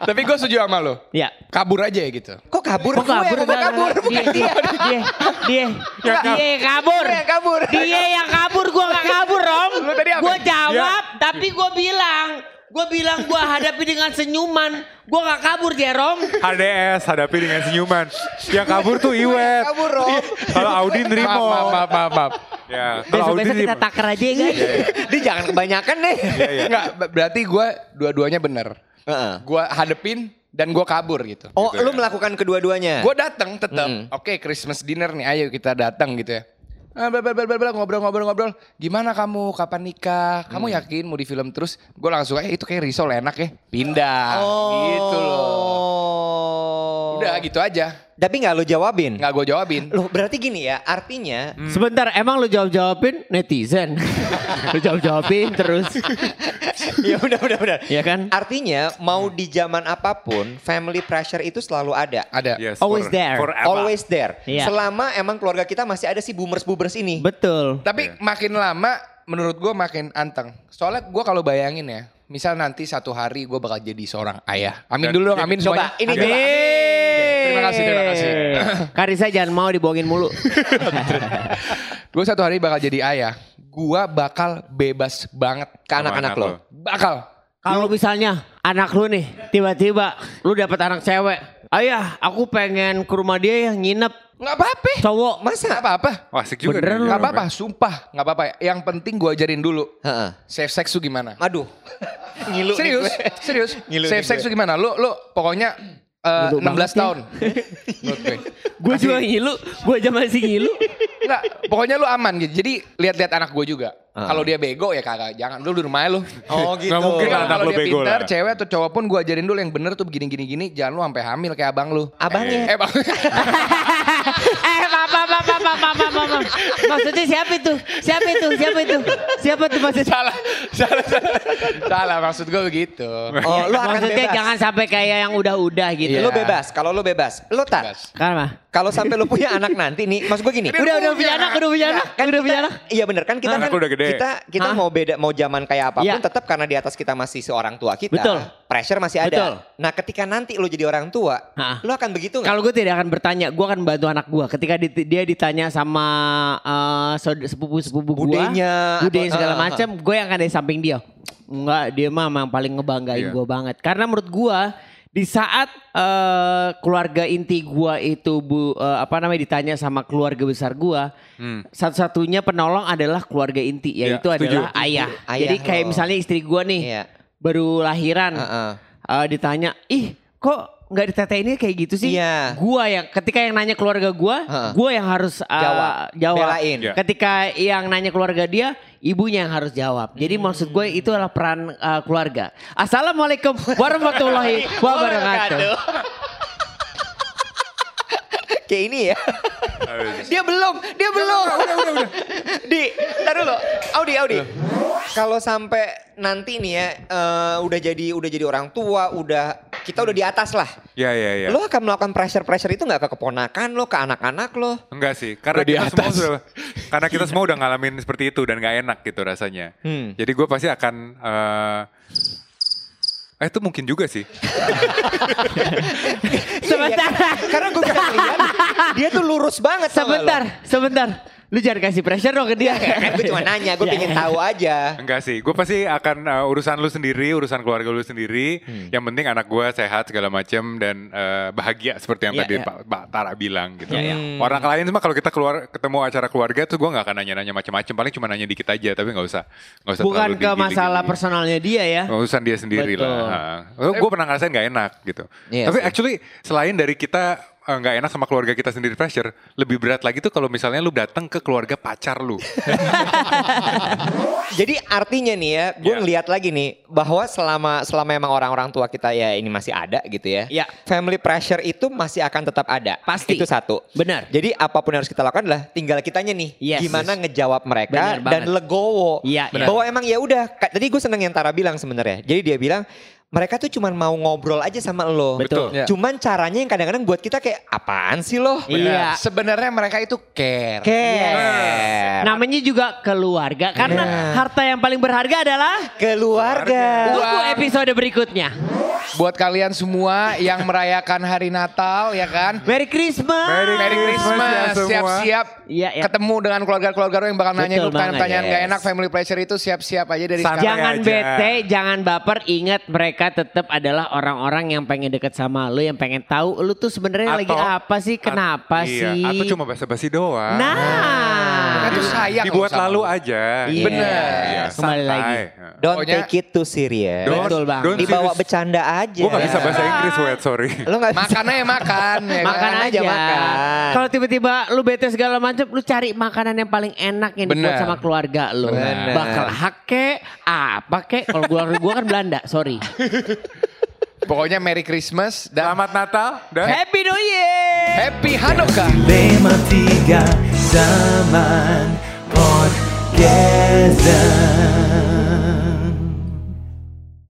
[SPEAKER 2] Tapi gue setuju sama lo.
[SPEAKER 3] ya.
[SPEAKER 2] Kabur aja ya gitu.
[SPEAKER 1] kok kabur?
[SPEAKER 3] Kok kabur?
[SPEAKER 1] Gue yang kabur, bukan
[SPEAKER 3] Dia,
[SPEAKER 1] dia.
[SPEAKER 3] dia, dia, dia, dia yang kabur.
[SPEAKER 1] Gue yang kabur.
[SPEAKER 3] Dia yang kabur, gue gak kabur, Rom.
[SPEAKER 2] Lu tadi apa?
[SPEAKER 3] Gue jawab, tapi gue bilang. Gue bilang gue hadapi dengan senyuman. Gue gak kabur, Jerom.
[SPEAKER 4] HDS hadapi dengan senyuman. Yang kabur tuh Iwet. Iya.
[SPEAKER 1] kabur, Rob.
[SPEAKER 4] Kalau Audi nerimo.
[SPEAKER 2] Maaf, maaf, maaf, maaf. maaf.
[SPEAKER 4] Ya, kalau Audi
[SPEAKER 3] Besok-besok kita
[SPEAKER 4] nerimo.
[SPEAKER 3] takar aja ya, guys.
[SPEAKER 1] Dia jangan kebanyakan deh.
[SPEAKER 2] Enggak, ber- berarti gue dua-duanya bener.
[SPEAKER 1] Heeh.
[SPEAKER 2] Gue hadepin dan gue kabur gitu.
[SPEAKER 1] Oh, lu melakukan kedua-duanya.
[SPEAKER 2] Gue datang tetap. Oke, Christmas dinner nih. Ayo kita datang gitu ya. Ah, bla, bla, bla, bla, bla, ngobrol ngobrol ngobrol gimana kamu kapan nikah kamu yakin mau di film terus gue langsung eh itu kayak risol enak ya pindah gitu loh
[SPEAKER 1] Oh.
[SPEAKER 2] Udah gitu aja.
[SPEAKER 1] Tapi nggak lo jawabin.
[SPEAKER 2] Nggak gue jawabin.
[SPEAKER 1] Loh berarti gini ya, artinya
[SPEAKER 3] Hmm. Sebentar, emang lu jawab-jawabin netizen. lu jawab-jawabin terus.
[SPEAKER 1] ya udah udah udah.
[SPEAKER 3] Iya kan?
[SPEAKER 1] Artinya mau di zaman apapun, family pressure itu selalu ada.
[SPEAKER 2] Ada.
[SPEAKER 4] Yes,
[SPEAKER 3] Always there.
[SPEAKER 4] forever.
[SPEAKER 1] Always there.
[SPEAKER 3] Iya.
[SPEAKER 1] Selama emang keluarga kita masih ada si boomers-boomers ini.
[SPEAKER 3] Betul.
[SPEAKER 2] Tapi makin lama menurut gue makin anteng. Soalnya gue kalau bayangin ya, misal nanti satu hari gue bakal jadi seorang ayah. Amin
[SPEAKER 4] Dan-
[SPEAKER 2] dulu dong, amin
[SPEAKER 1] Coba,
[SPEAKER 2] semuanya.
[SPEAKER 1] ini
[SPEAKER 2] Amin.
[SPEAKER 1] coba.
[SPEAKER 2] Terima kasih, terima kasih.
[SPEAKER 3] Karisa jangan mau dibohongin mulu.
[SPEAKER 2] Gue satu hari bakal jadi ayah. Gue bakal bebas banget.
[SPEAKER 1] Ke anak-anak lo.
[SPEAKER 2] Bakal.
[SPEAKER 3] Kalau misalnya anak lu nih tiba-tiba lu dapat anak cewek, ayah aku pengen ke rumah dia ya nginep
[SPEAKER 2] Gak apa-apa.
[SPEAKER 3] cowok mas.
[SPEAKER 2] Gak apa-apa.
[SPEAKER 4] Wah, asik juga.
[SPEAKER 3] Beneran
[SPEAKER 4] nih, Rob,
[SPEAKER 2] Gak apa-apa,
[SPEAKER 4] ya.
[SPEAKER 2] sumpah. Gak apa-apa. Yang penting gue ajarin dulu.
[SPEAKER 1] Heeh.
[SPEAKER 2] Safe sex tuh gimana?
[SPEAKER 1] Aduh. Ngilu nih
[SPEAKER 2] serius,
[SPEAKER 1] gue.
[SPEAKER 2] serius.
[SPEAKER 1] Ngilu
[SPEAKER 2] Safe
[SPEAKER 1] nih
[SPEAKER 2] sex
[SPEAKER 1] gue.
[SPEAKER 2] tuh gimana? Lu lu pokoknya eh,
[SPEAKER 3] Bodoh
[SPEAKER 2] 16
[SPEAKER 3] banget ya.
[SPEAKER 2] tahun. Menurut gue.
[SPEAKER 3] Gue juga ngilu, gue aja masih ngilu.
[SPEAKER 2] Enggak, pokoknya lu aman gitu. Jadi lihat-lihat anak gue juga. Kalau dia bego ya kagak, jangan lu di rumah lu.
[SPEAKER 1] Oh gitu.
[SPEAKER 4] Nggak mungkin lah. anak
[SPEAKER 2] Iya, Kalau
[SPEAKER 4] lu
[SPEAKER 2] dia
[SPEAKER 4] bego
[SPEAKER 2] pintar,
[SPEAKER 4] lah.
[SPEAKER 2] cewek atau cowok pun gue ajarin dulu yang bener tuh begini gini gini, jangan lu sampai hamil kayak abang lu.
[SPEAKER 1] Abangnya.
[SPEAKER 2] Eh bang,
[SPEAKER 3] eh papa papa papa papa papa. Maksudnya siapa itu? Siapa itu? Siapa itu? Siapa itu maksudnya?
[SPEAKER 2] salah, salah, salah, salah. Maksud gue begitu.
[SPEAKER 1] Oh, lu akan
[SPEAKER 3] maksudnya
[SPEAKER 1] bebas.
[SPEAKER 3] jangan sampai kayak yang udah-udah gitu.
[SPEAKER 2] Iya.
[SPEAKER 1] Lu bebas. Kalau lu bebas. Lu tak.
[SPEAKER 2] Bebas.
[SPEAKER 3] Kan mah?
[SPEAKER 1] Kalau sampai lu punya anak nanti nih, maksud gue gini.
[SPEAKER 2] Udah,
[SPEAKER 3] Udah udah
[SPEAKER 2] punya
[SPEAKER 3] punya anak,
[SPEAKER 2] anak.
[SPEAKER 3] udah punya anak, udah punya anak.
[SPEAKER 1] Iya bener kan kita
[SPEAKER 4] Anak
[SPEAKER 1] kan
[SPEAKER 4] lu udah gede.
[SPEAKER 1] kita kita
[SPEAKER 3] Hah?
[SPEAKER 1] mau beda mau zaman kayak apapun
[SPEAKER 3] Iya.
[SPEAKER 1] tetap karena di atas kita masih seorang tua kita.
[SPEAKER 3] Betul.
[SPEAKER 1] Pressure masih ada.
[SPEAKER 3] Betul.
[SPEAKER 1] Nah, ketika nanti lu jadi orang tua,
[SPEAKER 3] Hah?
[SPEAKER 1] lu akan begitu nggak?
[SPEAKER 3] Kalau gue tidak akan bertanya, gue akan bantu anak gue. Ketika di- dia ditanya sama eh, saud- sepupu-sepupu gue,
[SPEAKER 1] Budenya
[SPEAKER 3] budenya
[SPEAKER 1] atau-
[SPEAKER 3] segala
[SPEAKER 1] ah, ah.
[SPEAKER 3] macam, gue yang akan dari samping dia. Enggak, dia mah emang paling
[SPEAKER 4] Iya.
[SPEAKER 3] ngebanggain gue banget. Karena menurut gue di saat eh, keluarga inti gue itu bu eh, apa namanya ditanya sama keluarga besar gue,
[SPEAKER 4] Hmm.
[SPEAKER 3] satu-satunya penolong adalah keluarga inti,
[SPEAKER 4] Iya,
[SPEAKER 3] yaitu
[SPEAKER 4] setuju.
[SPEAKER 3] adalah ayah.
[SPEAKER 1] Ayah
[SPEAKER 3] Jadi kayak
[SPEAKER 1] lo.
[SPEAKER 3] misalnya istri gue nih
[SPEAKER 1] Iya.
[SPEAKER 3] baru lahiran.
[SPEAKER 1] Heeh.
[SPEAKER 3] Eh, ditanya, ih kok nggak ditetehinnya kayak gitu sih?
[SPEAKER 1] Iya.
[SPEAKER 3] Gua yang ketika yang nanya keluarga gua,
[SPEAKER 1] Heeh.
[SPEAKER 3] gua yang harus eh,
[SPEAKER 1] Jawab.
[SPEAKER 3] jawab.
[SPEAKER 1] Belain.
[SPEAKER 4] Iya.
[SPEAKER 3] Ketika yang nanya keluarga dia, ibunya yang harus jawab. Jadi
[SPEAKER 1] Hmm.
[SPEAKER 3] maksud gue itu adalah peran eh, keluarga. Assalamualaikum warahmatullahi wabarakatuh.
[SPEAKER 1] Kayak ini ya. dia belum, dia belum. Udah, udah, udah. Di, ntar dulu. Audi, Audi. Kalau sampai nanti nih ya, eh, udah jadi udah jadi orang tua, udah kita udah di atas lah.
[SPEAKER 4] Ya, ya, ya.
[SPEAKER 1] Lo akan melakukan pressure-pressure itu nggak ke keponakan lo, ke anak-anak lo?
[SPEAKER 4] Enggak sih, karena
[SPEAKER 2] Udah di
[SPEAKER 4] kita semua
[SPEAKER 2] atas.
[SPEAKER 4] sudah, karena kita semua udah ngalamin seperti itu dan nggak enak gitu rasanya.
[SPEAKER 1] Hmm.
[SPEAKER 4] Jadi gue pasti akan, eh, eh itu mungkin juga sih.
[SPEAKER 3] Sebentar.
[SPEAKER 1] Iya, iya. karena gue bisa lihat dia tuh lurus banget sama
[SPEAKER 3] Sebentar, sebentar. Lu jangan kasih pressure dong ke dia.
[SPEAKER 1] Kan gue cuma nanya, gue pengen
[SPEAKER 3] Iya.
[SPEAKER 1] tahu aja.
[SPEAKER 4] Enggak sih, gue pasti akan eh, urusan lu sendiri, urusan keluarga lu sendiri.
[SPEAKER 3] Hmm.
[SPEAKER 4] Yang penting anak gue sehat segala macem dan eh, bahagia seperti yang
[SPEAKER 3] Iya,
[SPEAKER 4] tadi
[SPEAKER 3] iya.
[SPEAKER 4] Pak, Pak Tara bilang gitu.
[SPEAKER 3] Iya, iya.
[SPEAKER 4] Orang lain mah kalau kita keluar ketemu acara keluarga tuh gue nggak akan nanya-nanya macam-macam, paling cuma nanya dikit aja, tapi nggak usah, nggak usah.
[SPEAKER 3] Bukan
[SPEAKER 4] terlalu
[SPEAKER 3] ke
[SPEAKER 4] digili-gili.
[SPEAKER 3] masalah personalnya dia ya.
[SPEAKER 4] urusan dia sendiri
[SPEAKER 3] Betul.
[SPEAKER 4] lah. Gue pernah ngerasain nggak enak gitu.
[SPEAKER 1] Iya
[SPEAKER 4] Tapi
[SPEAKER 1] sih.
[SPEAKER 4] actually selain dari kita eh, nggak enak sama keluarga kita sendiri pressure, lebih berat lagi tuh kalau misalnya lu datang ke keluarga pacar lu.
[SPEAKER 1] Jadi artinya nih ya, gue
[SPEAKER 4] Iya.
[SPEAKER 1] ngeliat lagi nih bahwa selama selama emang orang-orang tua kita ya ini masih ada gitu ya.
[SPEAKER 3] Iya.
[SPEAKER 1] Family pressure itu masih akan tetap ada.
[SPEAKER 3] Pasti.
[SPEAKER 1] Itu satu.
[SPEAKER 3] Benar.
[SPEAKER 1] Jadi apapun yang harus kita lakukan adalah tinggal kitanya nih,
[SPEAKER 3] Yes.
[SPEAKER 1] gimana ngejawab mereka
[SPEAKER 3] Benar
[SPEAKER 1] dan
[SPEAKER 3] banget.
[SPEAKER 1] legowo.
[SPEAKER 3] Iya, iya.
[SPEAKER 1] Bahwa emang ya udah. ka- Tadi gue seneng yang Tara bilang sebenarnya. Jadi dia bilang mereka tuh cuman mau ngobrol aja sama lo.
[SPEAKER 3] Betul.
[SPEAKER 2] Iya.
[SPEAKER 1] Cuman caranya yang kadang-kadang buat kita kayak apaan sih lo?
[SPEAKER 3] Iya.
[SPEAKER 2] Sebenarnya mereka itu care.
[SPEAKER 1] Care.
[SPEAKER 3] Nah, Namanya juga keluarga karena
[SPEAKER 1] Iya.
[SPEAKER 3] harta yang paling berharga adalah
[SPEAKER 1] keluarga.
[SPEAKER 3] Tunggu episode berikutnya.
[SPEAKER 2] Buat kalian semua yang merayakan hari Natal ya kan.
[SPEAKER 3] Merry Christmas.
[SPEAKER 4] Merry
[SPEAKER 2] Merry Christmas,
[SPEAKER 4] Christmas ya semua.
[SPEAKER 2] siap-siap
[SPEAKER 3] Iya, iya.
[SPEAKER 2] ketemu dengan keluarga-keluarga lu yang bakal
[SPEAKER 3] Betul
[SPEAKER 2] nanyain lu
[SPEAKER 3] banget.
[SPEAKER 2] pertanyaan-pertanyaan gak
[SPEAKER 1] Yes.
[SPEAKER 2] enak, family pressure itu siap-siap aja dari
[SPEAKER 4] Santai.
[SPEAKER 2] sekarang.
[SPEAKER 3] Jangan
[SPEAKER 4] aja.
[SPEAKER 3] bete, jangan baper, ingat mereka tetap adalah orang-orang yang pengen deket sama lu, yang pengen tahu lu tuh sebenarnya lagi
[SPEAKER 4] Atau-
[SPEAKER 3] apa sih, kenapa
[SPEAKER 4] At-
[SPEAKER 3] sih?
[SPEAKER 4] Iya, atau cuma basa-basi doang.
[SPEAKER 3] Nah,
[SPEAKER 2] Mereka tuh sayang
[SPEAKER 4] Dibuat
[SPEAKER 2] loh sama
[SPEAKER 4] lalu
[SPEAKER 2] lu.
[SPEAKER 4] aja.
[SPEAKER 1] Iya.
[SPEAKER 2] Bener.
[SPEAKER 4] Iya,
[SPEAKER 3] Kembali
[SPEAKER 4] santai.
[SPEAKER 3] lagi.
[SPEAKER 1] Don't
[SPEAKER 2] Pokoknya-
[SPEAKER 1] take it too serious.
[SPEAKER 4] Don't-
[SPEAKER 3] Betul, Bang.
[SPEAKER 4] don't
[SPEAKER 1] Dibawa
[SPEAKER 4] serious.
[SPEAKER 1] bercanda aja.
[SPEAKER 4] Gue gak bisa bahasa
[SPEAKER 3] Iya.
[SPEAKER 4] Inggris, wait, sorry.
[SPEAKER 1] Lo gak bisa.
[SPEAKER 2] Makan aja makan. ya
[SPEAKER 3] makan
[SPEAKER 2] kan?
[SPEAKER 3] aja.
[SPEAKER 1] makan.
[SPEAKER 3] Kalau tiba-tiba lu bete segala macam, lu cari makanan yang paling enak yang dibuat
[SPEAKER 2] Bener.
[SPEAKER 3] sama keluarga lu.
[SPEAKER 1] Bener.
[SPEAKER 3] Bakal hak kek, apa kek? Kalau keluarga gua kan Belanda, sorry.
[SPEAKER 2] Pokoknya Merry Christmas dan
[SPEAKER 4] Selamat Natal dan
[SPEAKER 3] Happy New Year.
[SPEAKER 2] Happy Hanukkah.
[SPEAKER 6] Dilema tiga zaman podcaster